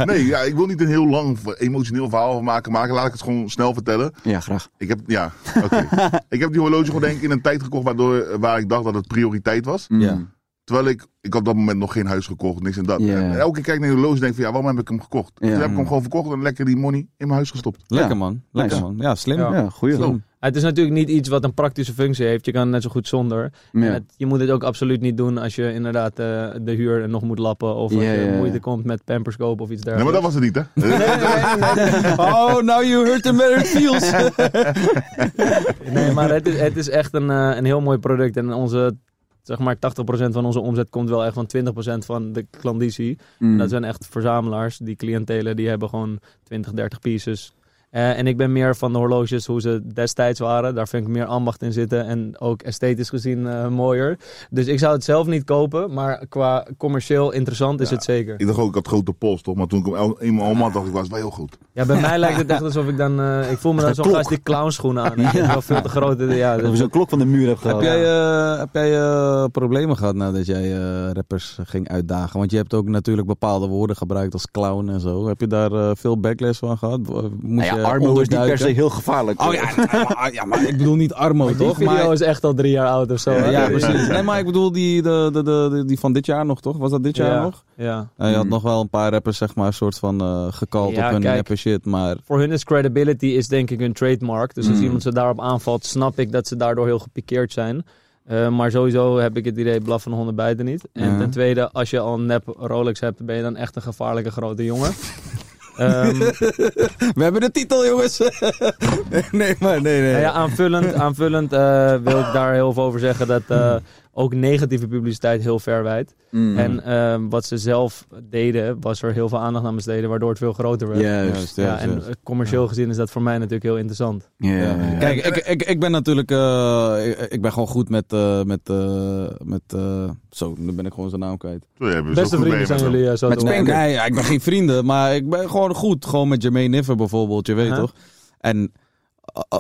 Speaker 4: Nee, ja, ik wil niet een heel lang v- emotioneel verhaal van maken, maken. Laat ik het gewoon snel vertellen.
Speaker 3: Ja, graag.
Speaker 4: Ik heb, ja, oké. ik heb die horloge gewoon denk ik in een tijd gekocht waardoor, waar ik dacht dat het prioriteit was. Mm.
Speaker 5: Ja.
Speaker 4: Terwijl ik, ik had op dat moment nog geen huis gekocht, niks en dat.
Speaker 3: Ja.
Speaker 4: En elke keer kijk ik naar die horloge en denk van, ja, waarom heb ik hem gekocht?
Speaker 3: Ja.
Speaker 4: Toen heb ik hem gewoon verkocht en lekker die money in mijn huis gestopt.
Speaker 5: Lekker
Speaker 3: Ja.
Speaker 5: man. Lekker
Speaker 3: Nice.
Speaker 5: man. Ja, slim.
Speaker 6: Ja.
Speaker 3: Ja, goeie.
Speaker 5: Slim.
Speaker 6: Het is natuurlijk niet iets wat een praktische functie heeft. Je kan het net zo goed zonder. En
Speaker 3: Ja.
Speaker 6: het- je moet het ook absoluut niet doen als je inderdaad eh, de huur nog moet lappen. Of
Speaker 3: Ja,
Speaker 6: als
Speaker 3: ja,
Speaker 6: je
Speaker 3: ja.
Speaker 6: moeite komt met pampers kopen of iets
Speaker 4: Nee, maar dat
Speaker 6: dergelijks.
Speaker 4: was het niet, hè?
Speaker 5: Oh, now you hurt the married feels.
Speaker 6: Nee, maar het is, het is echt een, eh, een heel mooi product. En onze, zeg maar, 80% van onze omzet komt wel echt van 20% van de klandizie.
Speaker 3: Mm.
Speaker 6: En dat zijn echt verzamelaars. Die cliëntelen, die hebben gewoon 20, 30 pieces. Eh, en ik ben meer van de horloges hoe ze destijds waren. Daar vind ik meer ambacht in zitten. En ook esthetisch gezien eh, mooier. Dus ik zou het zelf niet kopen. Maar qua commercieel interessant is het zeker.
Speaker 4: Ik dacht ook, ik had grote pols, toch? Maar toen ik hem el- eenmaal om had, dacht ik, was wel heel goed.
Speaker 6: Ja, bij mij lijkt het echt alsof ik dan... eh, ik voel me dan zo'n
Speaker 3: klok.
Speaker 6: gast die clownschoenen aan heeft. Ja. Wel veel te grote... Ja,
Speaker 3: Dat we zo'n klok van de muur hebben
Speaker 5: Heb
Speaker 3: gehaald.
Speaker 5: jij, eh, heb jij eh, problemen gehad nadat jij eh, rappers ging uitdagen? Want je hebt ook natuurlijk bepaalde woorden gebruikt als clown en zo. Heb je daar eh, veel backlash van gehad? eh, Moest je
Speaker 3: nou ja, Armo is niet per se
Speaker 5: onderduiken?
Speaker 3: heel gevaarlijk.
Speaker 5: Oh ja, maar- ja, maar ik bedoel niet Armo,
Speaker 6: Die
Speaker 5: toch?
Speaker 6: video
Speaker 5: Maar,
Speaker 6: is echt al drie jaar oud of zo.
Speaker 5: ja,
Speaker 6: hè?
Speaker 5: ja, precies. Nee, maar ik bedoel die, de, de, de, die van dit jaar nog, toch? Was dat dit jaar
Speaker 6: Ja,
Speaker 5: nog?
Speaker 6: Ja.
Speaker 5: Nou, je had
Speaker 3: Mm.
Speaker 5: nog wel een paar rappers, zeg maar, soort van eh gekald
Speaker 6: Ja,
Speaker 5: op hun
Speaker 6: kijk.
Speaker 5: neppe shit. Maar
Speaker 6: Voor hun is credibility is denk ik hun trademark. Dus als
Speaker 5: Mm.
Speaker 6: iemand ze daarop aanvalt, snap ik dat ze daardoor heel gepikeerd zijn. Eh, maar sowieso heb ik het idee, blaf van de honden bijten niet. En
Speaker 5: Ja.
Speaker 6: ten tweede, als je al een nep Rolex hebt, ben je dan echt een gevaarlijke grote jongen. Ehm,
Speaker 5: we hebben de titel, jongens. nee, maar nee, nee.
Speaker 6: Nou ja, aanvullend, aanvullend eh, wil ik daar heel veel over zeggen dat eh, ook negatieve publiciteit heel ver wijdt.
Speaker 5: Hmm.
Speaker 3: Mm.
Speaker 6: En eh, wat ze zelf deden, was er heel veel aandacht aan besteden, waardoor het veel groter werd.
Speaker 3: Juist.
Speaker 5: Juist, juist,
Speaker 6: Ja, en
Speaker 5: juist.
Speaker 6: eh, commercieel gezien is dat voor mij natuurlijk heel interessant.
Speaker 3: Ja, ja,
Speaker 5: Ja,
Speaker 3: ja.
Speaker 5: Kijk, ik, ik, ik ben natuurlijk. eh, ik, ik ben gewoon goed met. eh, met, eh, met eh, zo, nu ben ik gewoon zijn naam kwijt.
Speaker 4: Zo, jij bent zo
Speaker 6: Beste
Speaker 4: goed
Speaker 6: vrienden
Speaker 4: mee
Speaker 6: zijn
Speaker 4: met
Speaker 6: jullie eh, zo
Speaker 3: Met
Speaker 6: te horen.
Speaker 5: Nee, nee, ja, ik ben geen vrienden, maar ik ben gewoon goed. Gewoon met Jermaine Niffer bijvoorbeeld, je weet
Speaker 6: Huh?
Speaker 5: toch? En. eh, eh,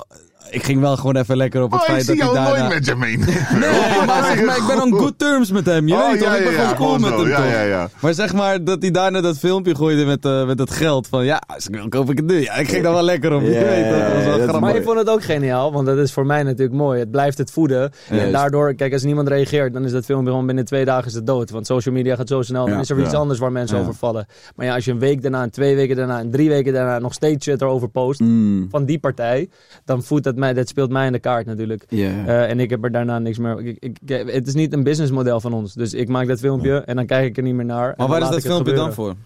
Speaker 5: ik ging wel gewoon even lekker op
Speaker 4: hem.
Speaker 5: het
Speaker 4: Oh, ik
Speaker 5: feit dat
Speaker 4: zie
Speaker 5: ik
Speaker 4: jou
Speaker 5: daarna...
Speaker 4: nooit met Jermaine.
Speaker 5: Nee, maar zeg maar, ik ben on good terms met hem, je
Speaker 4: Oh,
Speaker 5: weet toch?
Speaker 4: ja,
Speaker 5: ik ben
Speaker 4: ja, ja,
Speaker 5: gewoon cool
Speaker 4: gewoon
Speaker 5: met
Speaker 4: zo.
Speaker 5: hem,
Speaker 4: Ja, ja,
Speaker 5: toch?
Speaker 4: ja.
Speaker 5: Maar zeg maar dat hij daarna dat filmpje gooide met, eh, met dat geld. Van ja, als ik wil koop ik het nu. Ja, ik ging daar wel lekker op, je
Speaker 3: Ja,
Speaker 5: weet toch? Dat was wel
Speaker 3: ja, dat is
Speaker 5: grappig.
Speaker 6: Maar ik vond het ook geniaal, want dat is voor mij natuurlijk mooi. Het blijft het voeden.
Speaker 3: Juist.
Speaker 6: En daardoor, kijk, als niemand reageert, dan is dat filmpje gewoon binnen twee dagen is het dood. Want social media gaat zo snel, dan
Speaker 3: Ja,
Speaker 6: is er weer iets
Speaker 3: ja.
Speaker 6: anders waar mensen
Speaker 5: Ja.
Speaker 6: over vallen. Maar ja, als je een week daarna, en twee weken daarna, en drie weken daarna nog steeds shit erover post
Speaker 3: Mm.
Speaker 6: van die partij, dan voedt dat mij, dat speelt mij in de kaart natuurlijk.
Speaker 3: Ja.
Speaker 6: Eh, en ik heb er daarna niks meer. Ik, ik, ik- het is niet een businessmodel van ons. Dus ik maak dat filmpje en dan kijk ik er niet meer naar. en
Speaker 5: Maar
Speaker 6: dan
Speaker 5: waar is
Speaker 6: laat
Speaker 5: dat
Speaker 6: ik het
Speaker 5: filmpje dan
Speaker 6: gebeuren.
Speaker 5: voor?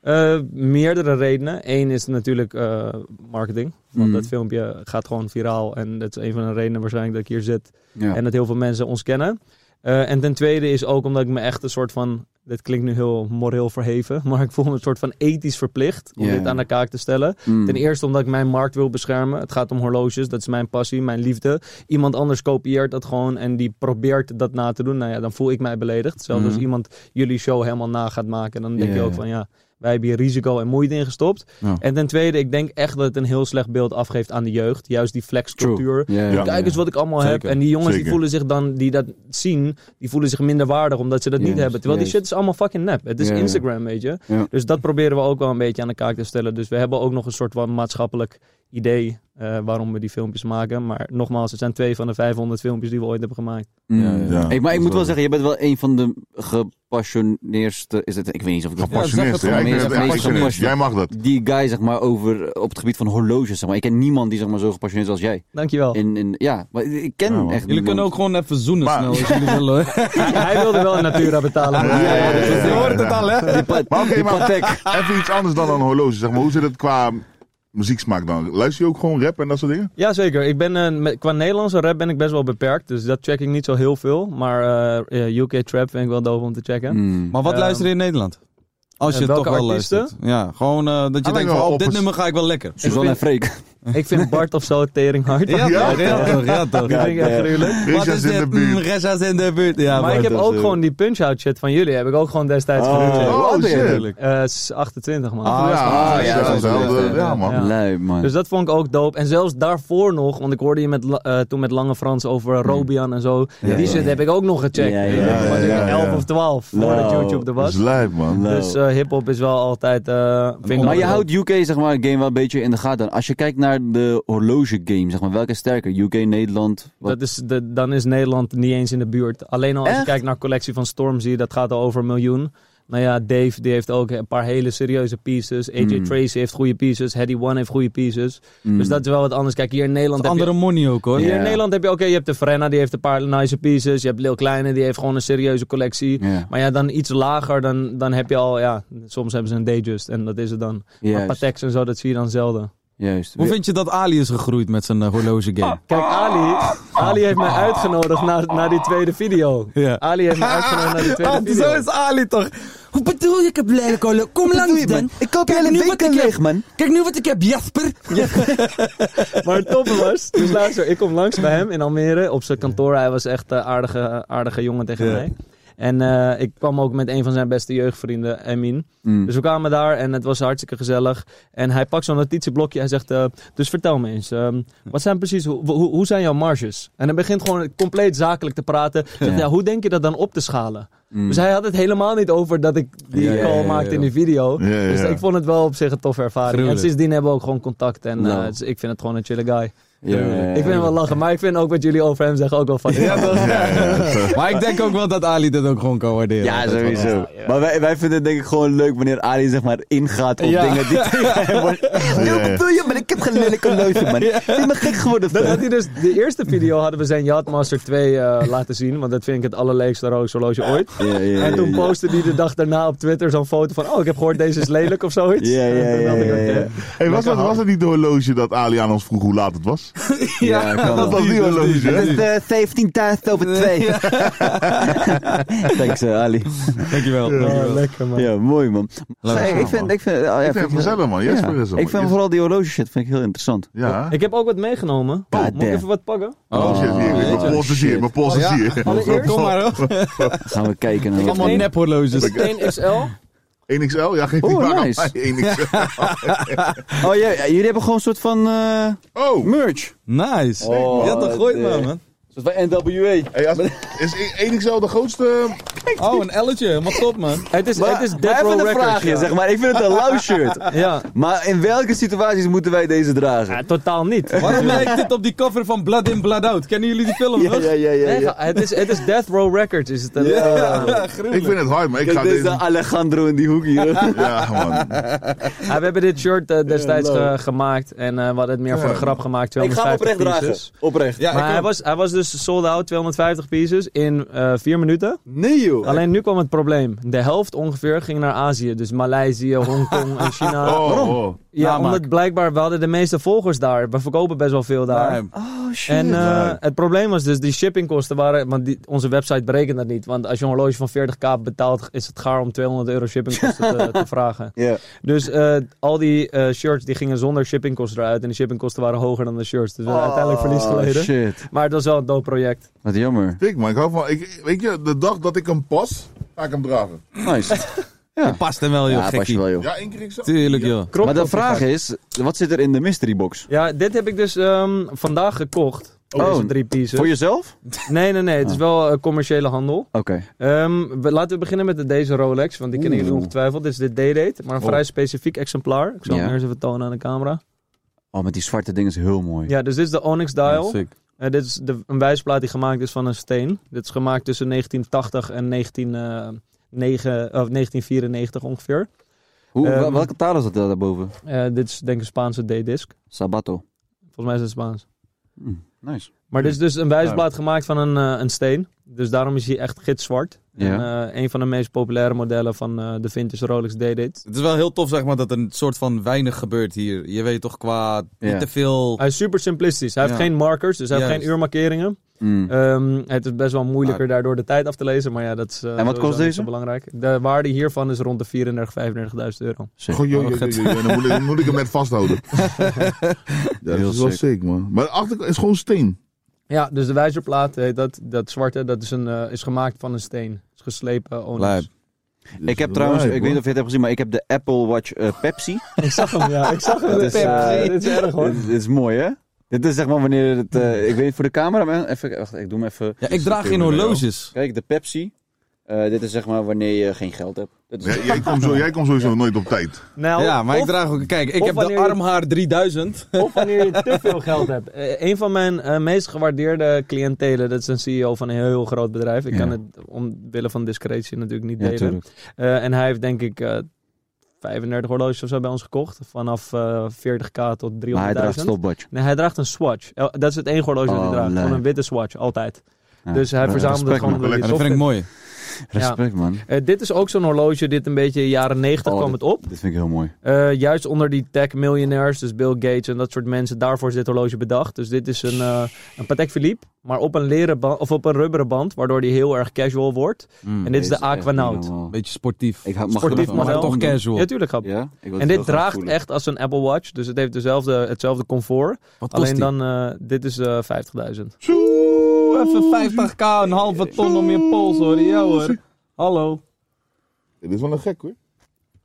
Speaker 6: Eh, meerdere redenen. Eén is natuurlijk eh, marketing. Want
Speaker 3: Mm.
Speaker 6: dat filmpje gaat gewoon viraal. En dat is een van de redenen waarschijnlijk dat ik hier zit.
Speaker 3: Ja.
Speaker 6: En dat heel veel mensen ons kennen. Eh, en ten tweede is ook omdat ik me echt een soort van. Dit klinkt nu heel moreel verheven, maar ik voel me een soort van ethisch verplicht om
Speaker 3: Ja.
Speaker 6: dit aan de kaak te stellen.
Speaker 3: Mm.
Speaker 6: Ten eerste omdat ik mijn markt wil beschermen. Het gaat om horloges, dat is mijn passie, mijn liefde. Iemand anders kopieert dat gewoon en die probeert dat na te doen. Nou ja, dan voel ik mij beledigd. Zelfs als
Speaker 3: Mhm.
Speaker 6: iemand jullie show helemaal na gaat maken, dan denk
Speaker 3: Ja,
Speaker 6: je ook
Speaker 3: ja.
Speaker 6: van ja, wij hebben hier risico en moeite in gestopt.
Speaker 3: Ja.
Speaker 6: En ten tweede, ik denk echt dat het een heel slecht beeld afgeeft aan de jeugd. Juist die flexcultuur.
Speaker 3: Ja, ja,
Speaker 6: Kijk eens wat ik allemaal heb.
Speaker 5: Zeker.
Speaker 6: En die jongens die
Speaker 4: Zeker.
Speaker 6: voelen zich dan, die dat zien, die voelen zich minder waardig omdat ze dat niet
Speaker 3: Juist,
Speaker 6: hebben. Terwijl die
Speaker 3: juist.
Speaker 6: shit is allemaal fucking nep. Het is
Speaker 3: Ja, ja.
Speaker 6: Instagram, weet je.
Speaker 3: Ja.
Speaker 6: Dus dat proberen we ook wel een beetje aan de kaak te stellen. Dus we hebben ook nog een soort van maatschappelijk idee eh, waarom we die filmpjes maken. Maar nogmaals, het zijn twee van de 500 filmpjes die we ooit hebben gemaakt.
Speaker 3: Mm.
Speaker 5: Ja, ja.
Speaker 4: Ja,
Speaker 3: Hey, maar
Speaker 4: dat
Speaker 3: ik
Speaker 4: is
Speaker 3: moet wel
Speaker 4: wel-
Speaker 3: zeggen, je bent wel een van de gepassioneerste. Is het, ik weet niet of ik dat
Speaker 5: Ja, zeg
Speaker 4: Passionist,
Speaker 5: het
Speaker 4: ja, ik
Speaker 3: gewoon.
Speaker 4: ben echt
Speaker 3: Ja,
Speaker 4: passionist.
Speaker 3: passionist.
Speaker 4: Jij mag dat.
Speaker 3: die guy, zeg maar, over, eh, op het gebied van horloges. Zeg maar. Ik ken niemand die zeg maar, zo gepassioneerd is als jij.
Speaker 6: Dankjewel.
Speaker 3: In, in, ja, maar ik ken
Speaker 4: Ja, man.
Speaker 5: Hmm,
Speaker 3: echt
Speaker 5: Jullie
Speaker 3: niemand.
Speaker 5: kunnen ook gewoon even zoenen
Speaker 4: Maar-
Speaker 5: snel als jullie willen. hoor.
Speaker 6: Hij wilde wel een Natura betalen.
Speaker 4: Ja,
Speaker 6: maar-
Speaker 4: ja, ja, ja.
Speaker 5: Je hoort het al, hè?
Speaker 3: Die, pa-
Speaker 4: Maar oké,
Speaker 3: die
Speaker 4: maar-
Speaker 3: Patek.
Speaker 4: Even iets anders dan een horloge. Zeg maar, hoe zit het qua muzieksmaak dan? Luister je ook gewoon rap en dat soort dingen?
Speaker 6: Ja, zeker. Ik ben, eh, met- qua Nederlandse rap ben ik best wel beperkt. Dus dat check ik niet zo heel veel. Maar eh, eh, UK Trap vind ik wel doof om te checken.
Speaker 3: Mm.
Speaker 5: Maar wat
Speaker 6: Ehm,
Speaker 5: luister je in Nederland? Als
Speaker 6: eh,
Speaker 5: je
Speaker 6: welke
Speaker 5: toch wel
Speaker 6: artiesten?
Speaker 5: luistert. Ja, gewoon eh, dat je
Speaker 4: Ah,
Speaker 5: denkt,
Speaker 4: wel
Speaker 5: van, op dit
Speaker 4: op-
Speaker 5: nummer ga ik wel lekker.
Speaker 3: Suzanne en
Speaker 6: vind-
Speaker 3: Freek.
Speaker 6: Ik vind Bart of zo tering hard.
Speaker 5: Ja,
Speaker 4: Ja,
Speaker 5: toch? Ja, toch? Ja, toch?
Speaker 6: Die vind ik echt gruwelijk.
Speaker 5: Wat
Speaker 4: Richard
Speaker 5: is
Speaker 4: is in de
Speaker 5: dit?
Speaker 4: buurt.
Speaker 5: Mm, Reza's in de buurt. Ja,
Speaker 6: Maar ik heb
Speaker 3: dat
Speaker 6: ook
Speaker 3: is, eh,
Speaker 6: gewoon die punch-out shit van jullie. Heb ik ook gewoon destijds
Speaker 3: Oh,
Speaker 6: genoemd.
Speaker 4: Oh,
Speaker 3: wat ben je
Speaker 4: shit.
Speaker 3: eigenlijk?
Speaker 6: Eh, s- 28 man.
Speaker 5: Ah,
Speaker 4: ja,
Speaker 3: ja,
Speaker 4: ja,
Speaker 3: dat is
Speaker 4: hetzelfde.
Speaker 3: wel, ja.
Speaker 4: Ja, man.
Speaker 6: Ja.
Speaker 3: Lui, man.
Speaker 6: Dus dat vond ik ook dope. En zelfs daarvoor nog, want ik hoorde je met, La- eh, toen met Lange Frans over Robian en zo.
Speaker 3: Hmm. Ja,
Speaker 6: die
Speaker 3: ja,
Speaker 6: shit
Speaker 3: ja.
Speaker 6: heb ik ook nog gecheckt.
Speaker 3: Ja,
Speaker 6: Ik
Speaker 3: ja,
Speaker 6: was
Speaker 4: ja, ja,
Speaker 6: 11
Speaker 4: ja.
Speaker 6: of 12 voordat
Speaker 3: Nou,
Speaker 6: YouTube er
Speaker 4: Dat
Speaker 6: was.
Speaker 4: is lijp, man.
Speaker 3: Nou.
Speaker 6: Dus eh, hip-hop is wel altijd. eh, vind ik
Speaker 3: maar
Speaker 6: altijd
Speaker 3: je
Speaker 6: dope.
Speaker 3: houdt UK zeg maar, game wel een beetje in de gaten. Als je kijkt naar de horlogegame, zeg maar, welke is sterker? UK, Nederland? Wat?
Speaker 6: Dat is de, dan is Nederland niet eens in de buurt. Alleen al als
Speaker 3: Echt?
Speaker 6: je kijkt naar collectie van Stormzy, dat gaat al over een miljoen. Nou ja, Dave die heeft ook een paar hele serieuze pieces. AJ
Speaker 3: Mm.
Speaker 6: Tracy heeft goede pieces. Hedy One heeft goede pieces.
Speaker 3: Mm.
Speaker 6: Dus dat is wel wat anders. Kijk, hier in Nederland heb je...
Speaker 5: Andere money ook, hoor.
Speaker 3: Ja.
Speaker 6: Hier in Nederland heb je, oké, je hebt de Frenna, die heeft een paar nice pieces. Je hebt Lil Kleine, die heeft gewoon een serieuze collectie.
Speaker 3: Ja.
Speaker 6: Maar ja, dan iets lager, dan, dan heb je al, ja, soms hebben ze een Dayjust en dat is het dan. Maar
Speaker 3: Juist,
Speaker 6: Pateks en zo, dat zie je dan zelden.
Speaker 3: juist.
Speaker 5: Hoe vind je dat Ali is gegroeid met zijn eh, horloge game?
Speaker 6: Kijk, Ali, Ali heeft mij uitgenodigd naar, naar die tweede video.
Speaker 5: Ja.
Speaker 6: Ali heeft mij uitgenodigd naar die
Speaker 8: Ah,
Speaker 3: Ah,
Speaker 6: tweede video.
Speaker 5: zo is Ali toch?
Speaker 9: Hoe bedoel je, ik heb lelijk horloge? Kom langs dan.
Speaker 3: Ik koop
Speaker 9: Kijk
Speaker 3: hele
Speaker 9: nu wat
Speaker 3: winkel
Speaker 9: ik heb.
Speaker 3: leeg, man.
Speaker 9: Kijk nu wat ik heb, Jasper.
Speaker 6: Maar het toppen was, dus luister, ik kom langs bij hem in Almere op zijn kantoor. Hij was echt een aardige, aardige jongen tegen
Speaker 5: Ja.
Speaker 6: mij. En eh, ik kwam ook met een van zijn beste jeugdvrienden, Emin.
Speaker 3: Mm.
Speaker 6: Dus we kwamen daar en het was hartstikke gezellig. En hij pakt zo'n notitieblokje. Hij zegt, eh, dus vertel me eens, ehm, wat zijn precies, hoe, hoe- hoe zijn jouw marges? En hij begint gewoon compleet zakelijk te praten. Zegt,
Speaker 3: Ja.
Speaker 6: ja, hoe denk je dat dan op te schalen?
Speaker 3: Mm.
Speaker 6: Dus hij had het helemaal niet over dat ik die
Speaker 3: Ja, ja,
Speaker 6: call
Speaker 3: ja, ja,
Speaker 6: maakte
Speaker 5: ja.
Speaker 6: in die video.
Speaker 4: Ja, ja,
Speaker 6: Dus
Speaker 4: ja.
Speaker 6: ik vond het wel op zich een toffe ervaring.
Speaker 5: Gruwelijk.
Speaker 6: En sindsdien hebben we ook gewoon contact. En eh,
Speaker 3: Nou.
Speaker 6: dus ik vind het gewoon een chille guy.
Speaker 3: Ja, ja, ja.
Speaker 6: ik vind hem wel lachen. Maar ik vind ook wat jullie over hem zeggen ook wel van.
Speaker 5: Maar ik denk ook wel dat Ali dat ook gewoon kan waarderen.
Speaker 3: Ja, sowieso. Maar wij, wij vinden het denk ik gewoon leuk wanneer Ali zeg maar ingaat op
Speaker 5: Ja.
Speaker 3: dingen die tegen hem worden. Yo, wat wil je? Maar ik heb geen lelijk horloge, man. Ik ben gek geworden.
Speaker 6: Dat had
Speaker 3: fan.
Speaker 6: hij dus, de eerste video hadden we zijn Yachtmaster 2 eh, laten zien. Want dat vind ik het allerleukste roze horloge ooit.
Speaker 3: Ja, ja,
Speaker 6: En toen
Speaker 3: ja, ja.
Speaker 6: postte hij de dag daarna op Twitter zo'n foto van... Oh, ik heb gehoord deze is lelijk of zoiets.
Speaker 3: Ja, ja,
Speaker 6: En toen dacht ik, eh.
Speaker 3: ja, ja, ja.
Speaker 6: oké.
Speaker 4: Hey, was, dat, was het niet de horloge dat Ali aan ons vroeg hoe laat het was?
Speaker 3: Ja, kan
Speaker 4: Dat
Speaker 3: wel.
Speaker 4: was die horloge.
Speaker 3: Het
Speaker 4: hè?
Speaker 3: is eh, 17.000 over 2. Thanks, eh, Ali.
Speaker 5: Dankjewel.
Speaker 6: Oh, lekker man.
Speaker 3: Ja, mooi man.
Speaker 4: Leuk.
Speaker 3: Nee, ik vind, ik vind,
Speaker 6: oh,
Speaker 3: ja,
Speaker 4: Ik vind het gezellig, man.
Speaker 3: Ja.
Speaker 4: Jesper is er,
Speaker 3: Ik
Speaker 4: man.
Speaker 3: vind vooral die horloge shit vind ik heel interessant.
Speaker 4: Ja.
Speaker 6: Ik heb ook wat meegenomen.
Speaker 3: God
Speaker 6: Moet ik
Speaker 3: damn.
Speaker 6: even wat pakken?
Speaker 4: Oh shit, hier.
Speaker 3: Oh,
Speaker 4: Mijn
Speaker 3: shit.
Speaker 4: pols is hier. Mijn
Speaker 3: Oh,
Speaker 4: pols is hier.
Speaker 5: Kom maar hoor.
Speaker 3: Gaan we kijken naar wat-
Speaker 5: Allemaal nephorloges.
Speaker 6: Meteen XL.
Speaker 4: 1XL? Ja, geef die
Speaker 3: Oh,
Speaker 4: maar aan
Speaker 3: nice.
Speaker 4: mij. 1XL.
Speaker 3: Oh ja, ja, jullie hebben gewoon een soort van eh,
Speaker 4: Oh!
Speaker 3: merch.
Speaker 5: Nice.
Speaker 3: Oh,
Speaker 5: ja, toch gooi het maar,
Speaker 3: de-
Speaker 5: man.
Speaker 3: Een soort van NWA.
Speaker 4: Hey, als- is E- 1XL de grootste?
Speaker 5: Oh, een elletje. Helemaal top, man.
Speaker 6: Het is,
Speaker 3: Maar,
Speaker 6: het is
Speaker 3: maar
Speaker 6: Death Row
Speaker 3: even een
Speaker 6: Records,
Speaker 3: vraagje,
Speaker 6: ja.
Speaker 3: zeg maar. Ik vind het een lauw shirt.
Speaker 6: Ja.
Speaker 3: Maar in welke situaties moeten wij deze dragen?
Speaker 6: Ja, totaal niet.
Speaker 5: Waarom lijkt dit op die cover van Blood in, Blood out? Kennen jullie die film nog?
Speaker 3: ja,
Speaker 6: Nee, ga- het, is, het is Death Row Records. Is het een,
Speaker 3: Ja.
Speaker 6: eh,
Speaker 4: Ik vind het hard, maar ik
Speaker 3: Kijk,
Speaker 4: ga
Speaker 3: dit is de
Speaker 4: deze...
Speaker 3: Alejandro in die hoek hier.
Speaker 4: Ja, man.
Speaker 6: ja, we hebben dit shirt eh, destijds ge- gemaakt. En eh, we hadden het meer voor een grap gemaakt.
Speaker 3: ik ga hem
Speaker 6: 250
Speaker 3: oprecht dragen.
Speaker 6: pieces.
Speaker 3: Oprecht.
Speaker 5: Ja,
Speaker 6: Maar
Speaker 5: ik
Speaker 6: hij
Speaker 5: ook.
Speaker 6: was, hij was dus sold out, 250 pieces, in eh vier minuten.
Speaker 3: Nee joh.
Speaker 6: Alleen nu kwam het probleem. De helft ongeveer ging naar Azië. Dus Maleisië, Hongkong en China.
Speaker 4: Oh, oh.
Speaker 6: Ja,
Speaker 5: Namaak.
Speaker 6: omdat blijkbaar, we hadden de meeste volgers daar. We verkopen best wel veel daar.
Speaker 5: Nee.
Speaker 3: Oh, shit.
Speaker 6: En eh,
Speaker 3: Wauw.
Speaker 6: het probleem was dus, die shippingkosten waren... Want die, onze website berekent dat niet. Want als je een horloge van 40k betaalt, is het gaar om 200 euro shippingkosten te, te vragen.
Speaker 3: Ja.
Speaker 6: Dus eh, al die eh, shirts die gingen zonder shippingkosten eruit. En de shippingkosten waren hoger dan de shirts. Dus we hebben uiteindelijk verlies geleden.
Speaker 3: Oh, shit.
Speaker 6: Maar het was wel een dood project.
Speaker 3: Wat jammer.
Speaker 4: Dik, maar ik hou van. Ik, weet je, de dag dat ik hem pas, ga ik hem dragen.
Speaker 3: Nice.
Speaker 5: Je past hem wel, joh,
Speaker 3: Ja, pas je
Speaker 5: gekkie.
Speaker 3: wel, joh.
Speaker 4: Ja, één keer ik zo.
Speaker 5: Tuurlijk, joh.
Speaker 6: Krop
Speaker 3: Maar de
Speaker 6: op je
Speaker 3: vraag
Speaker 6: vak.
Speaker 3: is, wat zit er in de mystery box?
Speaker 6: Ja, dit heb ik dus ehm, vandaag gekocht.
Speaker 3: Oh.
Speaker 6: Deze drie pieces.
Speaker 3: Voor jezelf?
Speaker 6: Nee, nee, nee.
Speaker 4: Oh.
Speaker 6: Het is wel eh, commerciële handel.
Speaker 3: Oké.
Speaker 6: Ehm, we, laten we beginnen met de- deze Rolex, want die kennen jullie
Speaker 3: Oeh.
Speaker 6: ongetwijfeld. Dit is de Day-Date, maar een
Speaker 3: Oh.
Speaker 6: vrij specifiek exemplaar. Ik zal
Speaker 3: Ja.
Speaker 6: hem eerst even tonen aan de camera.
Speaker 3: Oh, met die zwarte ding is heel mooi.
Speaker 6: Ja, dus dit is de Onyx Dial.
Speaker 5: Sick.
Speaker 6: Eh, dit is de, een wijsplaat die gemaakt is van een steen. Dit is gemaakt tussen 1980 en 19, eh, negen- of 1994 ongeveer.
Speaker 3: Hoe,
Speaker 6: Ehm,
Speaker 3: wel- welke taal is dat daar- daarboven?
Speaker 6: Eh, dit is denk ik een Spaanse D-disc.
Speaker 3: Sabato.
Speaker 6: Volgens mij is het Spaans.
Speaker 3: Hm, nice.
Speaker 6: Maar dit is dus een wijsplaat gemaakt van een, eh, een steen. Dus daarom is hij echt gitzwart. En, eh, een van de meest populaire modellen van eh, de vintage Rolex Day-Date.
Speaker 5: Het is wel heel tof, zeg maar, dat er een soort van weinig gebeurt hier. Je weet toch, qua
Speaker 3: Ja.
Speaker 5: niet te veel...
Speaker 6: Hij is super simplistisch. Hij heeft
Speaker 5: Ja.
Speaker 6: geen markers, dus hij heeft
Speaker 5: Juist.
Speaker 6: geen uurmarkeringen.
Speaker 3: Hm.
Speaker 6: Ehm, het is best wel moeilijker daardoor de tijd af te lezen. Maar ja, dat is eh,
Speaker 3: En wat kost
Speaker 6: sowieso niet
Speaker 3: deze?
Speaker 6: zo belangrijk. De waarde hiervan is rond de 34, 35.000 euro.
Speaker 4: Goh,
Speaker 3: oh,
Speaker 4: joh, joh, joh, joh, joh. Dan moet ik, dan moet ik hem net vasthouden. ja, dat
Speaker 3: Heel
Speaker 4: is wel
Speaker 3: sick.
Speaker 4: sick, man. Maar de achterkant is gewoon steen.
Speaker 6: Ja, dus de wijzerplaat, heet dat, dat zwarte, dat is, een, eh, is gemaakt van een steen. Is geslepen. Onyx.
Speaker 5: Lijp.
Speaker 3: Ik heb trouwens, ik weet niet of je het hebt gezien, maar ik heb de Apple Watch eh, Pepsi.
Speaker 6: Ik zag hem, ja. Ik zag hem.
Speaker 3: Dat
Speaker 6: dit,
Speaker 3: is, eh,
Speaker 6: dit is erg hoor.
Speaker 3: Dit, dit is mooi, hè? Dit is zeg maar wanneer het, eh, ik weet niet, voor de camera, maar even, wacht, ik doe hem even.
Speaker 5: Ja, ik draag geen horloges.
Speaker 3: Kijk, de Pepsi. Eh, dit is zeg maar wanneer je geen geld hebt. Dit is,
Speaker 4: Jij, jij komt zo, jij komt sowieso nooit op tijd.
Speaker 6: Nou,
Speaker 5: Ja, maar ik
Speaker 6: of-
Speaker 5: draag ook... Kijk, ik
Speaker 6: of
Speaker 5: heb de
Speaker 6: wanneer je-
Speaker 5: armhaar 3000.
Speaker 6: Of wanneer je te veel geld hebt. Eh, een van mijn eh, meest gewaardeerde cliëntelen, dat is een CEO van een heel groot bedrijf. Ik
Speaker 3: Ja.
Speaker 6: kan het omwille van discretie natuurlijk niet
Speaker 3: ja,
Speaker 6: delen.
Speaker 3: natuurlijk.
Speaker 6: Eh, en hij heeft denk ik eh 35 horloges of zo bij ons gekocht. Vanaf eh, 40k tot 300.000.
Speaker 3: Maar hij draagt stopwatch.
Speaker 6: Nee, hij draagt een Swatch. El- dat is het enige horloge dat
Speaker 3: Oh,
Speaker 6: hij draagt.
Speaker 3: leuk.
Speaker 6: Gewoon een witte Swatch, altijd.
Speaker 3: Ja.
Speaker 6: Dus hij
Speaker 3: Ja,
Speaker 6: verzamelt het
Speaker 3: respect,
Speaker 6: gewoon
Speaker 3: man.
Speaker 6: omdat hij
Speaker 4: Lekker.
Speaker 6: het
Speaker 5: Dat
Speaker 6: tof
Speaker 5: vind ik
Speaker 6: vindt.
Speaker 5: mooi.
Speaker 3: Respect, man.
Speaker 6: Eh, dit is ook zo'n horloge, dit een beetje jaren 90
Speaker 3: Oh,
Speaker 6: kwam het op.
Speaker 3: Dit vind ik heel mooi.
Speaker 6: Eh, juist onder die tech-miljonairs, dus Bill Gates en dat soort mensen, daarvoor is dit horloge bedacht. Dus dit is een, eh, een Patek Philippe, maar op een leren band, of op een rubberen band, waardoor die heel erg casual wordt. en dit is de
Speaker 3: Mm, Deze echt niet
Speaker 6: Aquanaut.
Speaker 3: normaal.
Speaker 5: Hmm. Beetje sportief.
Speaker 3: Ik hou- mag
Speaker 6: Sportief
Speaker 3: ervan.
Speaker 5: maar
Speaker 6: model.
Speaker 5: toch casual.
Speaker 6: Ja, tuurlijk, grap.
Speaker 3: Ja? Ik wil
Speaker 6: en
Speaker 3: het heel
Speaker 6: dit
Speaker 3: graag
Speaker 6: draagt
Speaker 3: voelen.
Speaker 6: echt als een Apple Watch, dus het heeft dezelfde, hetzelfde comfort.
Speaker 5: Wat kost
Speaker 6: Alleen
Speaker 5: die?
Speaker 6: dan, eh, dit is eh 50.000.
Speaker 5: Even 50k, een halve ton om je pols hoor. Ja hoor. Hallo.
Speaker 4: Dit is wel een gek, hoor.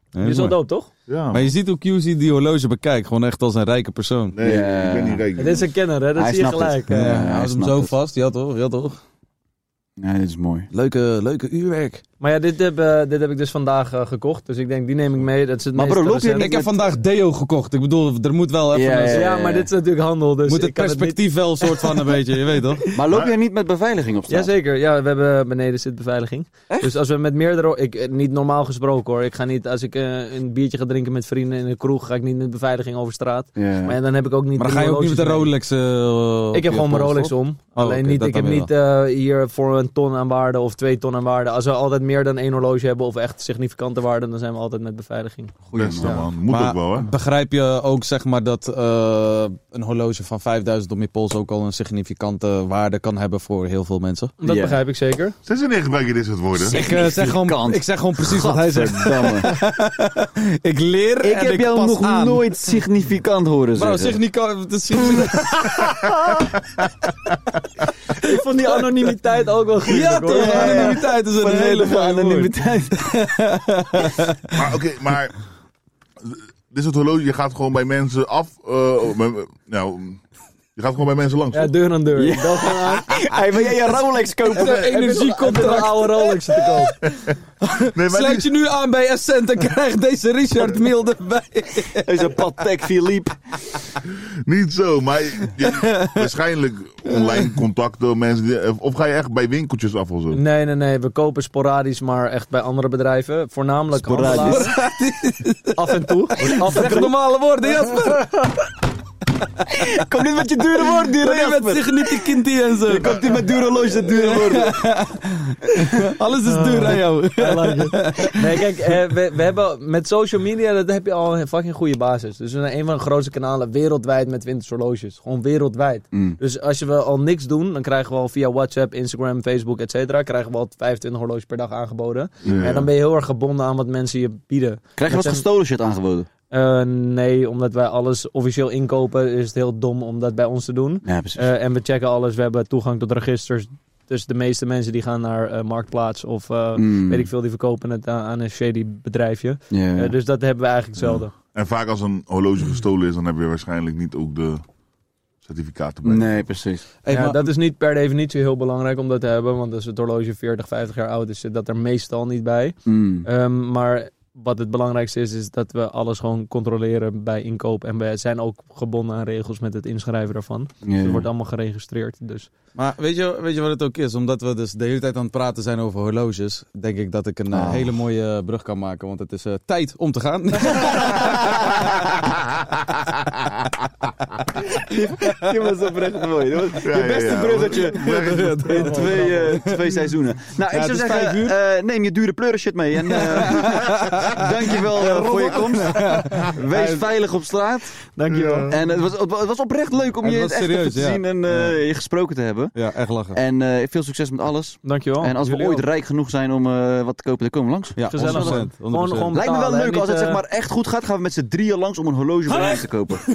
Speaker 6: Die is wel dood, toch?
Speaker 4: Ja.
Speaker 5: Maar je ziet hoe QC die horloge bekijkt. Gewoon echt als een rijke persoon.
Speaker 4: Nee,
Speaker 3: Ja.
Speaker 4: ik ben niet rijk.
Speaker 6: Dit is een kenner, hè? dat
Speaker 3: Hij
Speaker 6: zie je
Speaker 3: snapt het.
Speaker 6: gelijk. eh.
Speaker 5: Ja,
Speaker 6: hè.
Speaker 3: hij
Speaker 5: hij houdt hem
Speaker 3: snapt
Speaker 5: zo
Speaker 3: het.
Speaker 5: vast. Ja toch, ja toch.
Speaker 3: Nee, dit is mooi.
Speaker 5: Leuke, leuke uurwerk.
Speaker 6: Maar ja, dit heb, eh, dit heb ik dus vandaag eh, gekocht, dus ik denk, die neem ik mee. Dat is het
Speaker 3: Maar
Speaker 6: meest
Speaker 3: bro, loop je
Speaker 6: recente.
Speaker 5: En ik heb vandaag deo gekocht. Ik bedoel, er moet wel even...
Speaker 3: Ja,
Speaker 5: een-
Speaker 3: ja,
Speaker 6: Ja, maar dit is natuurlijk handel, dus
Speaker 5: moet het
Speaker 6: ik kan het niet-
Speaker 5: perspectief wel een soort van een beetje, je weet toch?
Speaker 3: Maar loop jij niet met beveiliging op straat?
Speaker 6: Jazeker, ja, we hebben eh, beneden zit beveiliging. Dus als we met meerdere, ik, eh, niet normaal gesproken hoor. Ik ga niet, als ik eh, een biertje ga drinken met vrienden in een kroeg, ga ik niet met beveiliging over straat.
Speaker 3: Ja.
Speaker 6: Maar ja, dan heb ik ook niet.
Speaker 5: Maar dan
Speaker 6: drie
Speaker 5: ga je ook niet met een
Speaker 6: horloges
Speaker 5: Rolex... eh,
Speaker 6: mee. Ik heb
Speaker 5: op je
Speaker 6: gewoon mijn
Speaker 5: pols,
Speaker 6: Rolex
Speaker 5: toch? Oh,
Speaker 6: om. Alleen
Speaker 5: oké,
Speaker 6: niet,
Speaker 5: dat
Speaker 6: ik
Speaker 5: dan
Speaker 6: heb
Speaker 5: weer
Speaker 6: niet eh, hier voor een ton aan waarde of twee ton aan waarde. Als we altijd meer dan één horloge hebben of echt significante waarde, dan zijn we altijd met beveiliging.
Speaker 4: Beste,
Speaker 3: man.
Speaker 4: man. Moet
Speaker 5: Maar
Speaker 4: ook wel, hè.
Speaker 5: Begrijp je ook zeg maar dat eh, een horloge van 5000 om je pols ook al een significante waarde kan hebben voor heel veel mensen?
Speaker 6: Dat
Speaker 3: Ja.
Speaker 6: begrijp ik zeker.
Speaker 4: Sinds wanneer gebruik je dit soort woorden?
Speaker 5: Ik, eh, zeg, gewoon,
Speaker 3: Significant.
Speaker 5: ik zeg gewoon precies wat hij zegt.
Speaker 3: Godverdamme.
Speaker 5: Ik leer
Speaker 3: ik
Speaker 5: en
Speaker 3: heb
Speaker 5: ik
Speaker 3: jou
Speaker 5: pas
Speaker 3: nog
Speaker 5: aan.
Speaker 3: nooit significant horen
Speaker 5: Bro,
Speaker 3: zeggen.
Speaker 5: zeg niet... kan- dat is-
Speaker 6: Ik vond die anonimiteit ook wel goed.
Speaker 5: Ja toch, anonimiteit is een hele
Speaker 3: Volledige
Speaker 5: fijne anonimiteit.
Speaker 3: anonimiteit.
Speaker 4: Maar oké, maar... Dit soort horloge, je gaat gewoon bij mensen af... eh, bij- nou, je gaat gewoon bij mensen langs.
Speaker 6: Ja,
Speaker 4: toch?
Speaker 6: deur aan deur. Ik bel gewoon aan.
Speaker 3: Hij wil jij je Rolex kopen?
Speaker 6: Energie komt er een oude Rolex te koop.
Speaker 4: nee, maar
Speaker 5: Sluit je nu aan bij Essent en krijg deze Richard Milde bij.
Speaker 3: Hij is een Patek Philippe.
Speaker 4: niet, niet zo, maar je- je- waarschijnlijk online contacten, mensen die, of ga je echt bij winkeltjes af of zo?
Speaker 6: Nee, nee, nee. We kopen sporadisch, maar echt bij andere bedrijven. Voornamelijk
Speaker 3: Sporadisch. Oh,
Speaker 6: handelaren. Af en toe. Af en
Speaker 5: Zeg
Speaker 6: toe.
Speaker 5: normale woorden, Jasper.
Speaker 3: Kom niet met je dure woorden, dure
Speaker 5: Nee, met
Speaker 3: Jasper.
Speaker 5: zich niet kindie en zo.
Speaker 3: Je komt niet met dure loge, dat dure woorden.
Speaker 5: Alles is duur aan jou.
Speaker 6: Ah, Nee, kijk, eh, we, we hebben, met social media dat heb je al een fucking goede basis. Dus we zijn een van de grootste kanalen wereldwijd met wintershorloges. Gewoon wereldwijd.
Speaker 5: Mm.
Speaker 10: Mm.
Speaker 6: Dus als je we al niks doen, dan krijgen we al via WhatsApp, Instagram, Facebook, et cetera, krijgen we al 25 horloges per dag aangeboden. En dan ben je heel erg gebonden aan wat mensen je bieden.
Speaker 3: Krijg je
Speaker 6: Dat
Speaker 3: wat
Speaker 6: zijn-
Speaker 3: gestolen shit aangeboden?
Speaker 6: Eh, nee, omdat wij alles officieel inkopen, is het heel dom om dat bij ons te doen.
Speaker 3: Ja, precies.
Speaker 6: Eh, en we checken alles. We hebben toegang tot registers. Dus de meeste mensen die gaan naar eh, Marktplaats of eh,
Speaker 3: Mm.
Speaker 6: weet ik veel, die verkopen het aan, aan een shady bedrijfje.
Speaker 3: Ja, ja.
Speaker 6: Eh, dus dat hebben we eigenlijk zelden.
Speaker 4: En vaak als een horloge gestolen is, dan heb je waarschijnlijk niet ook de certificaten bij.
Speaker 3: Nee, precies.
Speaker 5: Hey,
Speaker 6: ja,
Speaker 5: maar-
Speaker 6: Dat is niet per definitie heel belangrijk om dat te hebben. Want als het horloge 40, 50 jaar oud is, zit dat er meestal niet bij.
Speaker 3: Mm.
Speaker 6: Ehm, maar wat het belangrijkste is, is dat we alles gewoon controleren bij inkoop. En we zijn ook gebonden aan regels met het inschrijven daarvan.
Speaker 3: Ja,
Speaker 6: Het
Speaker 3: ja.
Speaker 6: wordt allemaal geregistreerd. Dus
Speaker 5: Maar weet je, weet je wat het ook is? Omdat we dus de hele tijd aan het praten zijn over horloges, denk ik dat ik een eh,
Speaker 3: Ah.
Speaker 5: hele mooie brug kan maken. Want het is eh, tijd om te gaan.
Speaker 3: Je was oprecht mooi. Dat was je
Speaker 4: ja,
Speaker 3: beste
Speaker 4: ja.
Speaker 3: bruggetje
Speaker 4: Bruggetje.
Speaker 3: in twee, eh, twee seizoenen. Nou, ik
Speaker 5: het
Speaker 3: zou
Speaker 5: is
Speaker 3: zeggen,
Speaker 5: vijf uur.
Speaker 3: eh, neem je dure pleuren shit mee. En eh, dankjewel eh, voor je komst. Wees veilig op straat.
Speaker 6: dankjewel.
Speaker 3: En het was, het was- het was oprecht leuk om
Speaker 5: Het
Speaker 3: je in
Speaker 5: was
Speaker 3: het echt even
Speaker 5: serieus,
Speaker 3: te
Speaker 5: ja.
Speaker 3: zien en eh, je gesproken te hebben.
Speaker 5: ja, echt lachen.
Speaker 3: En eh, veel succes met alles.
Speaker 6: Dankjewel.
Speaker 3: en als we
Speaker 6: Jullie
Speaker 3: ooit
Speaker 6: ook.
Speaker 3: rijk genoeg zijn om eh, wat te kopen, dan komen we langs.
Speaker 5: ja,
Speaker 6: gezellig.
Speaker 5: 100%, 100%.
Speaker 6: Gewoon- gewoon-
Speaker 3: Lijkt me wel
Speaker 6: betalen, hè,
Speaker 3: leuk als het
Speaker 6: niet,
Speaker 3: zeg
Speaker 6: eh,
Speaker 3: maar echt goed gaat, gaan we met z'n drieën langs om een horloge voor mij te kopen.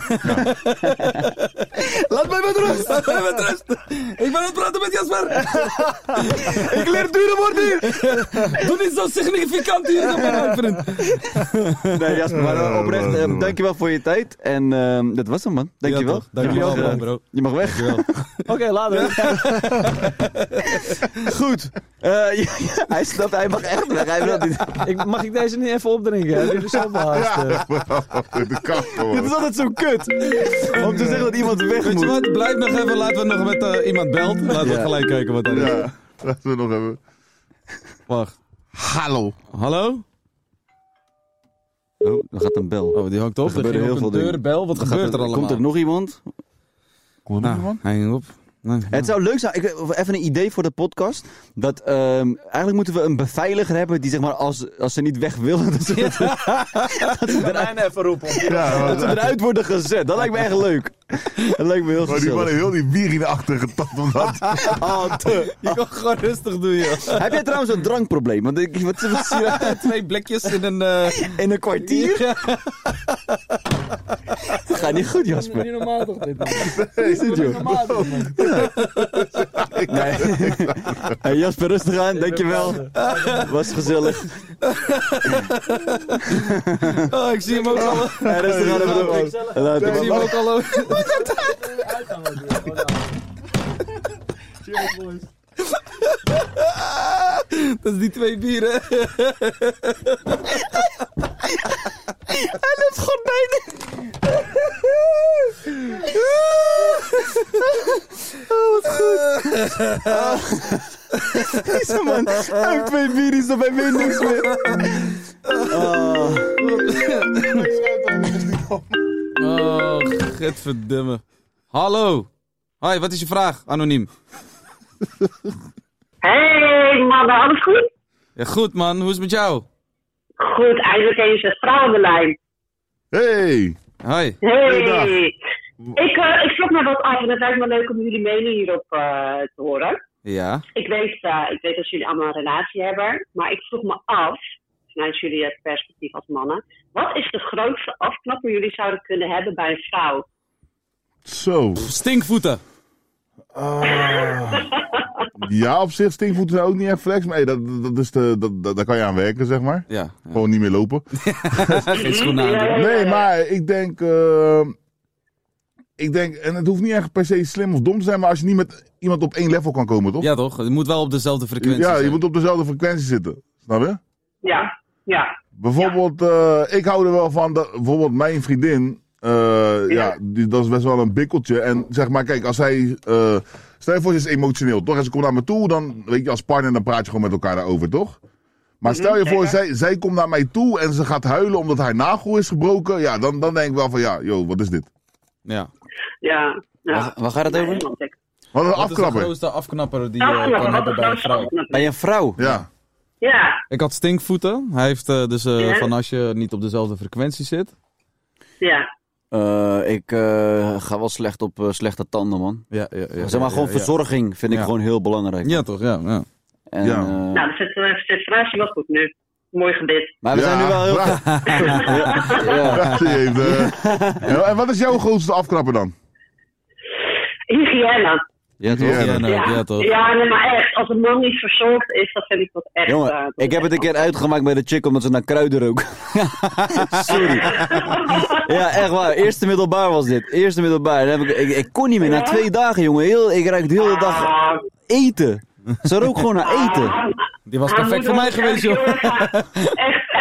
Speaker 5: Laat mij met rust! Laat mij met rust! Ik ben aan het praten met Jasper! ik leer dure woorden hier! Doe niet zo significant hier, dan ben mijn vriend.
Speaker 3: Nee, Jasper, maar
Speaker 5: Oh,
Speaker 3: eh, oprecht, eh, dankjewel voor je tijd. En ehm, dat was hem, man. Dankjewel.
Speaker 5: Ja, toch. Dankjewel,
Speaker 3: je mag,
Speaker 5: man,
Speaker 3: eh,
Speaker 5: bro.
Speaker 3: Je mag weg.
Speaker 6: Oké, later.
Speaker 3: Goed. Eh, ja, ja, hij snapt, hij mag echt weg. Hij wil niet.
Speaker 6: Ik, mag ik deze niet even opdrinken? Heb jullie zelf behaast? eh?
Speaker 4: de kast
Speaker 3: Dit is altijd zo kut. Om te zeggen dat iemand weg
Speaker 5: Weet je
Speaker 3: moet.
Speaker 5: wat? Blijf nog even. Laten we nog met eh, iemand belt. Laten we
Speaker 3: Ja.
Speaker 5: gelijk kijken wat dat is.
Speaker 4: Ja, laten we nog even.
Speaker 5: Wacht.
Speaker 4: Hallo.
Speaker 5: Hallo?
Speaker 3: Oh, dan gaat een bel.
Speaker 5: Oh, die hangt op.
Speaker 3: Er gebeuren
Speaker 5: ging
Speaker 3: heel
Speaker 5: ook
Speaker 3: veel
Speaker 5: een
Speaker 3: dingen.
Speaker 5: deurbel. Wat
Speaker 3: Dan gaat
Speaker 5: gebeurt er
Speaker 3: er-
Speaker 5: allemaal?
Speaker 3: Komt er nog iemand?
Speaker 4: Komt er nog
Speaker 5: Nou,
Speaker 4: iemand?
Speaker 5: hij hing op. Nee,
Speaker 3: Het zou leuk zijn, ik, even een idee voor de podcast. Dat ehm, eigenlijk moeten we een beveiliger hebben die zeg maar als, als ze niet weg willen, dat ze,
Speaker 6: even roepen.
Speaker 4: Ja,
Speaker 3: dat ze
Speaker 4: maar-
Speaker 3: eruit worden gezet. Dat lijkt me echt leuk. Dat lijkt me
Speaker 4: maar die
Speaker 3: heel
Speaker 4: man
Speaker 3: gezellig.
Speaker 4: heeft heel die bier in de achter getapt omdat...
Speaker 3: Ah, te.
Speaker 5: Je kan gewoon rustig doen, joh.
Speaker 3: Heb jij trouwens een drankprobleem? Want ik, wat, wat zie je
Speaker 5: Twee blikjes in een... eh,
Speaker 3: in een kwartier? Dat gaat niet goed, Jasper.
Speaker 6: Niet normaal toch dit?
Speaker 3: Is het, joh?
Speaker 6: Normaal toch, man?
Speaker 3: Nee. Hey, Jasper, rustig aan. Dankjewel. Was gezellig.
Speaker 5: Oh, ik zie hem ook al.
Speaker 3: Hey, rustig aan. bro.
Speaker 5: Ik
Speaker 3: Later.
Speaker 5: zie hem ook al. Dat is die twee bieren.
Speaker 3: Oh, Deze man. Hij heeft twee bieries, dan ben je niks meer. Ah.
Speaker 5: Oh, godverdomme. Hallo. Hoi, wat is je vraag, anoniem?
Speaker 11: Hey mannen, alles goed?
Speaker 5: Ja, goed man, hoe is het met jou?
Speaker 11: Goed, eigenlijk eens een vrouw aan de lijn.
Speaker 4: Hey!
Speaker 5: Hoi.
Speaker 11: Hey!
Speaker 4: Goeiedag.
Speaker 11: Ik, eh ik vroeg me wat af en het lijkt me leuk om jullie mening hierop eh, te horen.
Speaker 5: Ja.
Speaker 11: Ik weet, eh, ik weet dat jullie allemaal een relatie hebben, maar ik vroeg me af, vanuit jullie eh, perspectief als mannen, wat is de grootste afknapper jullie zouden kunnen hebben bij een vrouw?
Speaker 4: Zo.
Speaker 5: Stinkvoeten. Ah.
Speaker 4: Ja, op zich stinkvoeten zijn ook niet echt flex, maar hey, dat, dat is de, dat, dat, daar kan je aan werken, zeg maar.
Speaker 5: Ja. ja.
Speaker 4: Gewoon niet meer lopen.
Speaker 5: Geen schoenen aan. doen.
Speaker 4: Nee, maar ik denk. eh, ik denk, en het hoeft niet echt per se slim of dom te zijn, maar als je niet met iemand op één level kan komen, toch?
Speaker 5: Ja toch, je moet wel op dezelfde frequentie
Speaker 4: Ja, je
Speaker 5: zijn.
Speaker 4: moet op dezelfde frequentie zitten. Snap je?
Speaker 11: Ja, ja.
Speaker 4: Bijvoorbeeld, eh, ik hou er wel van dat bijvoorbeeld mijn vriendin, eh, ja, die, dat is best wel een bikkeltje. En zeg maar, kijk, als zij, eh stel je voor, ze is emotioneel, toch? En ze komt naar me toe, dan weet je, als partner, dan praat je gewoon met elkaar daarover, toch? Maar stel je voor, zij, zij komt naar mij toe en ze gaat huilen omdat haar nagel is gebroken. Ja, dan, dan denk ik wel van, ja, joh, wat is dit?
Speaker 5: Ja.
Speaker 11: Ja. ja.
Speaker 3: Waar, waar gaat het
Speaker 11: Nee,
Speaker 3: over?
Speaker 11: want ik-
Speaker 4: Wat een
Speaker 5: Wat is de
Speaker 4: afklapper.
Speaker 5: grootste afknapper die
Speaker 4: eh,
Speaker 5: je kan
Speaker 11: Afknappen, wat
Speaker 5: hebben
Speaker 11: een
Speaker 5: bij een
Speaker 11: grootste
Speaker 5: vrouw?
Speaker 11: afknapper.
Speaker 3: Bij een vrouw?
Speaker 4: Ja.
Speaker 11: Ja,
Speaker 5: Ik had stinkvoeten. Hij heeft eh, dus eh,
Speaker 11: Ja.
Speaker 5: van als je niet op dezelfde frequentie zit.
Speaker 11: ja.
Speaker 3: Eh, ik eh, ga wel slecht op eh, slechte tanden, man.
Speaker 5: Ja, ja, ja,
Speaker 3: zeg maar gewoon verzorging vind ik
Speaker 5: Ja.
Speaker 3: gewoon heel belangrijk.
Speaker 5: Ja, toch? Ja, ja.
Speaker 3: En,
Speaker 4: Ja.
Speaker 3: eh,
Speaker 11: Nou, dus het, eh, het fraasje was goed nu. Mooi gebit.
Speaker 3: maar we zijn nu wel heel...
Speaker 4: Ja,
Speaker 3: Ja.
Speaker 4: ja, die heeft, eh, ja, En wat is jouw grootste afklapper dan?
Speaker 11: Hygiëne.
Speaker 3: Ja, toch?
Speaker 4: Ja.
Speaker 5: Ja, nou, ja, toch?
Speaker 11: Ja, nee, maar echt. Als een man niet verzorgd is, dat vind ik wat echt. eh,
Speaker 3: Jongen,
Speaker 11: dat
Speaker 3: ik
Speaker 11: is
Speaker 3: heb het een
Speaker 11: echt
Speaker 3: keer uitgemaakt bij de chick omdat ze naar kruiden rook. Sorry. Ja, echt waar. Eerste middelbaar was dit. Eerste middelbaar. Dan heb ik, ik, ik kon niet meer. Na twee dagen, jongen. Heel, ik ruik de hele dag
Speaker 11: Ah,
Speaker 3: eten. Ze rook gewoon naar eten.
Speaker 11: ah,
Speaker 5: Die was
Speaker 11: Haar
Speaker 5: perfect voor mij
Speaker 11: moeder
Speaker 5: geweest,
Speaker 11: was
Speaker 5: joh.
Speaker 11: echt heel erg- Echt.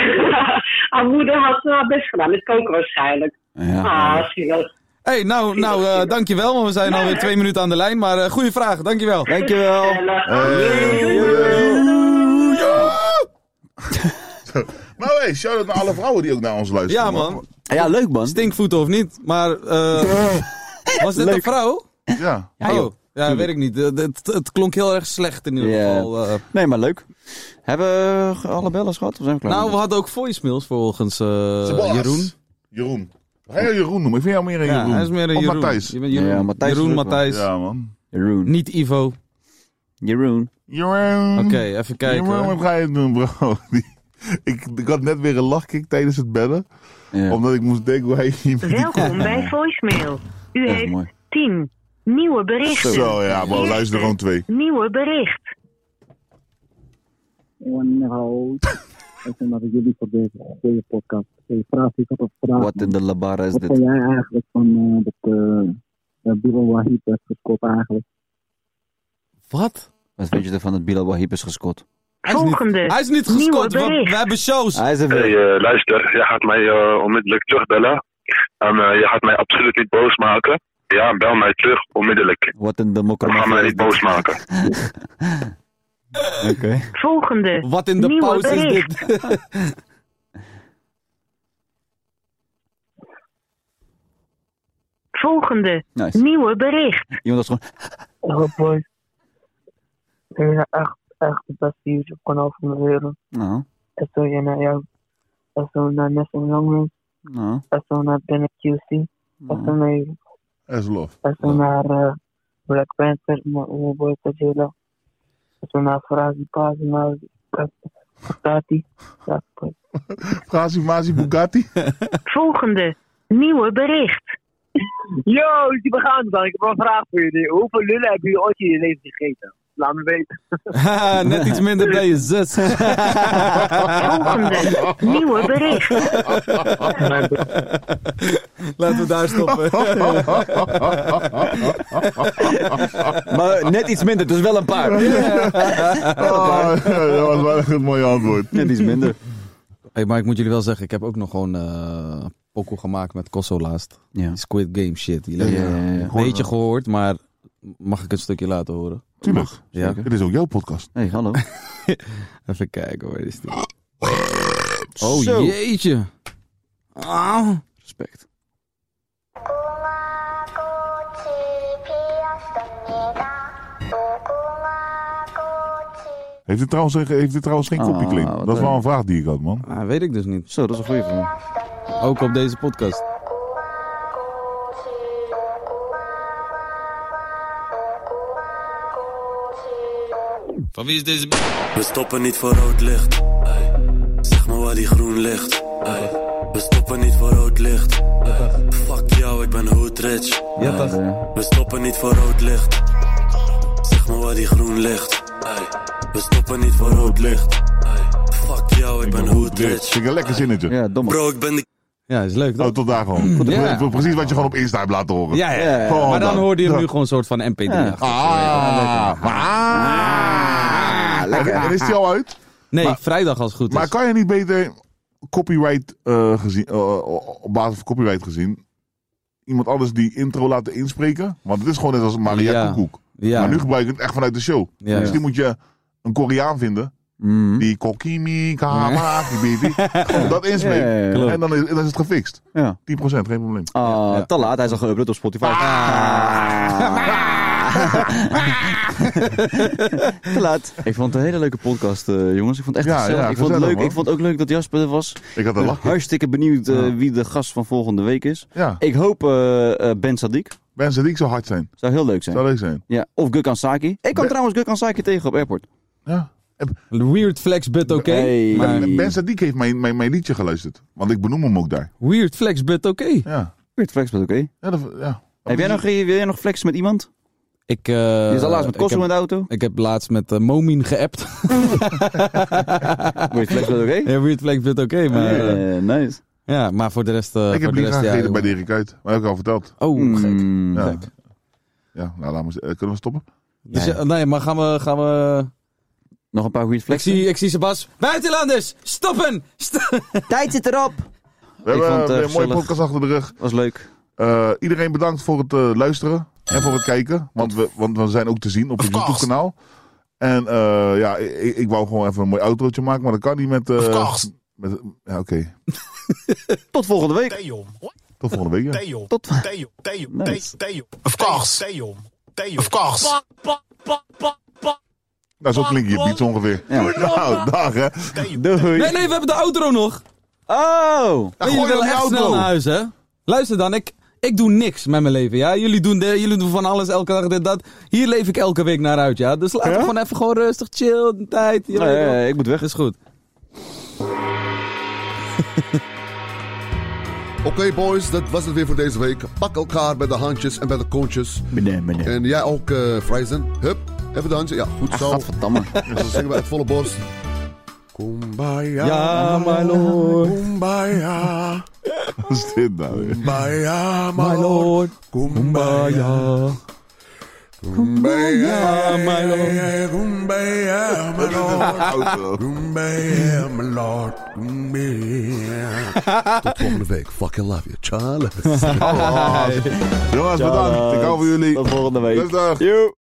Speaker 11: Haar moeder had haar best gedaan met koken waarschijnlijk.
Speaker 3: Ja.
Speaker 11: Ah, zielig.
Speaker 5: hey, nou, nou eh, dankjewel. Want we zijn alweer twee minuten aan de lijn. Maar eh goede vraag, dankjewel.
Speaker 3: Dankjewel. Eh,
Speaker 11: Gezellig.
Speaker 4: Nou hé, shout-out naar alle vrouwen die ook naar ons luisteren.
Speaker 5: Ja, man.
Speaker 3: Ja, leuk man.
Speaker 5: Stinkvoeten of niet. Maar eh, was dit een vrouw?
Speaker 4: Ja.
Speaker 3: Ja, joh.
Speaker 5: oh, ja, weet ik niet. Eh, Het, het klonk heel erg slecht in ieder
Speaker 3: Ja.
Speaker 5: geval. eh.
Speaker 3: Nee, maar leuk. Hebben we ge- alle bellen gehad? Of zijn we klaar?
Speaker 5: nou, we hadden ook voicemails volgens eh,
Speaker 4: Boas.
Speaker 5: Jeroen.
Speaker 4: Jeroen. Ga jij Jeroen noemen? Ik vind jou meer een
Speaker 5: Ja,
Speaker 4: Jeroen.
Speaker 5: hij is meer een
Speaker 4: Of
Speaker 5: Jeroen.
Speaker 4: Matthijs.
Speaker 5: Je bent Jeroen,
Speaker 3: Ja, Matthijs
Speaker 5: Matthijs, Jeroen
Speaker 3: is ook wel.
Speaker 5: Matthijs.
Speaker 4: Ja, man.
Speaker 3: Jeroen.
Speaker 5: Niet Ivo. Oké,
Speaker 3: Jeroen.
Speaker 4: Jeroen.
Speaker 3: eh,
Speaker 5: even kijken.
Speaker 4: Jeroen, wat ga je doen, bro? Die- Ik, ik had net weer een lachkick tijdens het bellen.
Speaker 3: Ja,
Speaker 4: Omdat ik moest denken hoe hij hier
Speaker 8: Welkom bij voicemail. U
Speaker 3: echt
Speaker 8: heeft
Speaker 3: mooi.
Speaker 8: 10 nieuwe berichten.
Speaker 4: Zo, ja, bro. Luister gewoon twee.
Speaker 8: Nieuwe bericht.
Speaker 7: Nou, ik vind dat jullie voor deze goede podcast. Ik vraag, ik had een vraag.
Speaker 3: Wat in de labara is
Speaker 7: Wat vond
Speaker 3: dit?
Speaker 7: jij eigenlijk van eh, dat eh Bilal Wahid werd verkopen eigenlijk?
Speaker 5: Wat?
Speaker 3: Wat vind je ervan dat Bilal Wahib is gescot?
Speaker 5: Hij is niet,
Speaker 8: Volgende.
Speaker 5: hij is niet
Speaker 8: Nieuwe
Speaker 5: gescot. We,
Speaker 8: bericht.
Speaker 5: we hebben shows.
Speaker 3: Hij is er
Speaker 10: Hey,
Speaker 3: weer.
Speaker 10: eh, luister, je gaat mij eh, onmiddellijk terugbellen. En eh, je gaat mij absoluut niet boos maken. Ja, bel mij terug onmiddellijk.
Speaker 3: Wat een
Speaker 10: We gaan
Speaker 3: democratie.
Speaker 10: mij
Speaker 3: is
Speaker 10: niet
Speaker 3: dit?
Speaker 10: boos maken.
Speaker 3: Oké.
Speaker 8: Volgende.
Speaker 5: Wat in de
Speaker 8: Nieuwe
Speaker 5: pauze is
Speaker 8: bericht.
Speaker 5: dit?
Speaker 8: Volgende.
Speaker 3: Nice.
Speaker 8: Nieuwe bericht.
Speaker 3: Iemand was gewoon...
Speaker 8: Oh boy. Jullie zijn echt, echt de beste YouTube kanaal van de wereld.
Speaker 3: Nou,
Speaker 8: En zo je naar jou. En zo naar Nessun Youngman.
Speaker 3: nou,
Speaker 8: En zo naar Bennett QC. En zo
Speaker 2: Mm.
Speaker 3: nou.
Speaker 8: naar,
Speaker 4: As love.
Speaker 8: en zo naar eh, Black Panther. Naar Uwe Boy Tajela. En zo eh, naar Farazi Paz. Naar Tati. Ja, boy.
Speaker 4: Gazi Mazi Bugatti.
Speaker 8: Volgende. Nieuwe bericht.
Speaker 7: Yo, Oh, dus die begaan dan. Ik heb wel een vraag voor jullie. Hoeveel lullen hebben jullie ooit in je leven gegeten? Laat me weten.
Speaker 5: Haha, Net iets minder bij je zus.
Speaker 8: Volgende. Nieuwe bericht.
Speaker 5: Laten we daar stoppen.
Speaker 3: Maar net iets minder, dus wel een paar.
Speaker 4: Ah, dat was wel echt een mooi antwoord.
Speaker 3: Net iets minder.
Speaker 5: Hey, maar ik moet jullie wel zeggen, ik heb ook nog gewoon eh pokoe gemaakt met Kosso laatst.
Speaker 3: Ja.
Speaker 5: Die Squid Game shit. Die
Speaker 3: Ja,
Speaker 5: lekker-
Speaker 3: ja, ja, ja.
Speaker 5: Een beetje gehoord, maar mag ik een stukje laten horen?
Speaker 4: Tuurlijk.
Speaker 5: Ja.
Speaker 4: Dit is ook jouw podcast.
Speaker 3: Hey, hallo.
Speaker 5: Even kijken hoor. Is die? Oh
Speaker 3: Zo.
Speaker 5: jeetje. Ah.
Speaker 3: Respect.
Speaker 4: Heeft dit trouwens, eh, heeft dit trouwens geen
Speaker 3: Ah,
Speaker 4: kopje klink?
Speaker 3: wat
Speaker 4: Dat is wel
Speaker 3: leuk.
Speaker 4: een vraag die ik had, man.
Speaker 5: Ah, weet ik dus niet.
Speaker 3: Zo, dat is een goede vraag.
Speaker 5: Ook op deze podcast. Van wie is deze
Speaker 10: We stoppen niet voor rood licht. Ey. Zeg me waar die groen ligt. Ey. We stoppen niet voor rood licht. Ey. Fuck jou, ik ben hood rich.
Speaker 5: Ja, toch?
Speaker 10: We stoppen niet voor rood licht. Zeg me waar die groen ligt. Ey. We stoppen niet voor rood licht. Ey. Fuck jou, ik ben hood
Speaker 4: Dit
Speaker 10: rich.
Speaker 4: vind ik een lekker zinnetje.
Speaker 3: Ja, domme.
Speaker 10: Bro, ik ben de
Speaker 5: Ja, is leuk
Speaker 4: Oh,
Speaker 5: toch?
Speaker 4: tot daar gewoon. Goed,
Speaker 5: Ja.
Speaker 4: pre- Precies wat je gewoon op Insta hebt laten horen. Oh, nou,
Speaker 5: Ja, ja.
Speaker 3: Ja,
Speaker 4: Gewoon
Speaker 5: Maar dan
Speaker 4: dat.
Speaker 5: hoorde je hem
Speaker 4: Dat.
Speaker 5: nu gewoon een soort van mp 3
Speaker 3: Ja.
Speaker 4: Ah, ah, lekker. En is die al uit?
Speaker 5: Nee,
Speaker 4: Maar-
Speaker 5: vrijdag als het goed is.
Speaker 4: Maar kan je niet beter copyright eh, gezien, eh, op basis van copyright gezien, iemand anders die intro laten inspreken? Want het is gewoon net als Maria
Speaker 5: Ja.
Speaker 4: Koekoek.
Speaker 5: ja.
Speaker 4: Maar nu gebruik je het echt vanuit de show.
Speaker 5: Ja.
Speaker 4: Misschien moet je een Koreaan vinden
Speaker 3: Mhm.
Speaker 4: Die kokimi, kahama, kibibi. Gewoon dat inspreken.
Speaker 3: Ja, ja, ja.
Speaker 4: En dan is, dan is het gefixt. 10%, geen probleem.
Speaker 3: Ah, te laat. Hij is al geüpload op Spotify.
Speaker 4: Ah.
Speaker 3: Ah. te laat. Ik vond het een hele leuke podcast, eh, jongens. Ik vond het echt
Speaker 4: Ja,
Speaker 3: gezellig.
Speaker 4: ja,
Speaker 3: ik, vond het
Speaker 4: gezellig,
Speaker 3: leuk.
Speaker 4: man.
Speaker 3: ik vond ook leuk dat Jasper er was.
Speaker 4: Ik had een lachje.
Speaker 3: Hartstikke benieuwd eh, wie de gast van volgende week is.
Speaker 4: Ja.
Speaker 3: Ik hoop eh, eh, Ben Sadik.
Speaker 4: Ben Sadik zou hard zijn.
Speaker 3: Zou heel leuk zijn.
Speaker 4: Zou leuk zijn.
Speaker 3: Ja. Of Gökhan Saki. Ik kwam
Speaker 4: Ben-
Speaker 3: trouwens Gökhan Saki tegen op airport.
Speaker 4: Ja.
Speaker 5: Weird flex, but oké.
Speaker 3: Hey.
Speaker 5: Maar-
Speaker 4: Ben, ben Sadik heeft mijn, mijn, mijn liedje geluisterd. Want ik benoem hem ook daar.
Speaker 5: Weird flex, but oké.
Speaker 4: Ja.
Speaker 3: Weird flex, maar oké.
Speaker 4: Ja, dat- ja.
Speaker 3: Heb jij nog, wil jij nog flex met iemand?
Speaker 5: Ik, eh
Speaker 3: Je zat laatst met
Speaker 5: ik
Speaker 3: Kosso
Speaker 5: heb-
Speaker 3: in de auto.
Speaker 5: Ik heb laatst met eh, Momin geappt.
Speaker 3: Weird flex, maar oké.
Speaker 5: ja, weird flex, but oké. maar, eh,
Speaker 3: Eh, nice.
Speaker 5: ja, maar voor de rest... eh,
Speaker 4: Ik
Speaker 5: voor
Speaker 4: heb
Speaker 5: de
Speaker 4: liedje
Speaker 5: rest, ja,
Speaker 4: gegeten
Speaker 5: joh.
Speaker 4: bij Dirk Uit. Maar heb ik al verteld.
Speaker 5: Oh, gek.
Speaker 3: Mm,
Speaker 4: Ja.
Speaker 5: Gek.
Speaker 4: Ja, nou, laat maar, eh, kunnen we stoppen?
Speaker 5: Dus, eh, nee, maar gaan we... Gaan we...
Speaker 3: Nog een paar weird
Speaker 5: Ik
Speaker 3: flex.
Speaker 5: zie, ik zie Sebas. Buitenlanders, stoppen!
Speaker 1: Tijd zit erop.
Speaker 4: We hebben
Speaker 3: vond
Speaker 4: eh, een
Speaker 3: het, eh,
Speaker 4: mooie
Speaker 3: gezellig.
Speaker 4: podcast achter de rug.
Speaker 3: Was leuk.
Speaker 4: Eh, iedereen bedankt voor het eh, luisteren en voor het kijken. Want we, want we zijn ook te zien op het YouTube-kanaal. En eh, ja, ik, ik wou gewoon even een mooi autootje maken, maar dat kan niet met... eh, met ja, oké.
Speaker 3: Tot volgende week.
Speaker 4: Tot volgende week. ja.
Speaker 3: Tot. Nice.
Speaker 10: Of course. Of course.
Speaker 4: Nou, zo klinkt je beats ongeveer. Nou, dag hè.
Speaker 3: Doei.
Speaker 5: Nee, nee, we hebben de outro nog.
Speaker 3: Oh.
Speaker 5: Nee, jullie
Speaker 4: gooi
Speaker 5: willen
Speaker 4: dan die
Speaker 5: echt
Speaker 4: outro.
Speaker 5: snel naar huis, hè? Luister dan, ik, ik doe niks met mijn leven, ja? Jullie doen, de- jullie doen van alles, elke dag dit, dat. Hier leef ik elke week naar uit, ja? Dus laten we gewoon even gewoon rustig, chill, een tijd. je weet wel.
Speaker 3: Nee, ik moet weg.
Speaker 5: Dat is goed.
Speaker 2: Oké boys, dat was het weer voor deze week. Pak elkaar bij de handjes en bij de kontjes.
Speaker 3: Meneer, meneer.
Speaker 2: En jij ook, eh Friesen. Hup, even de handje. Ja, goed zo.
Speaker 3: Gadverdamme.
Speaker 2: En zo zingen we uit volle borst. Kumbaya.
Speaker 5: Ja, my lord,
Speaker 2: Kumbaya.
Speaker 4: Wat is dit nou? weer?
Speaker 2: Kumbaya, my
Speaker 5: my
Speaker 2: lord.
Speaker 5: lord,
Speaker 2: Kumbaya.
Speaker 5: kumbaya.
Speaker 2: Kumbaya,
Speaker 5: my lord.
Speaker 2: Kumbaya, my lord.
Speaker 4: Auto.
Speaker 2: Kumbaya, my lord. Kumbaya. Tot volgende week. Fucking love you, Charles.
Speaker 4: Jongens, bedankt. Ik hou van jullie.
Speaker 3: Tot volgende week.
Speaker 4: Rustig.
Speaker 3: Joe.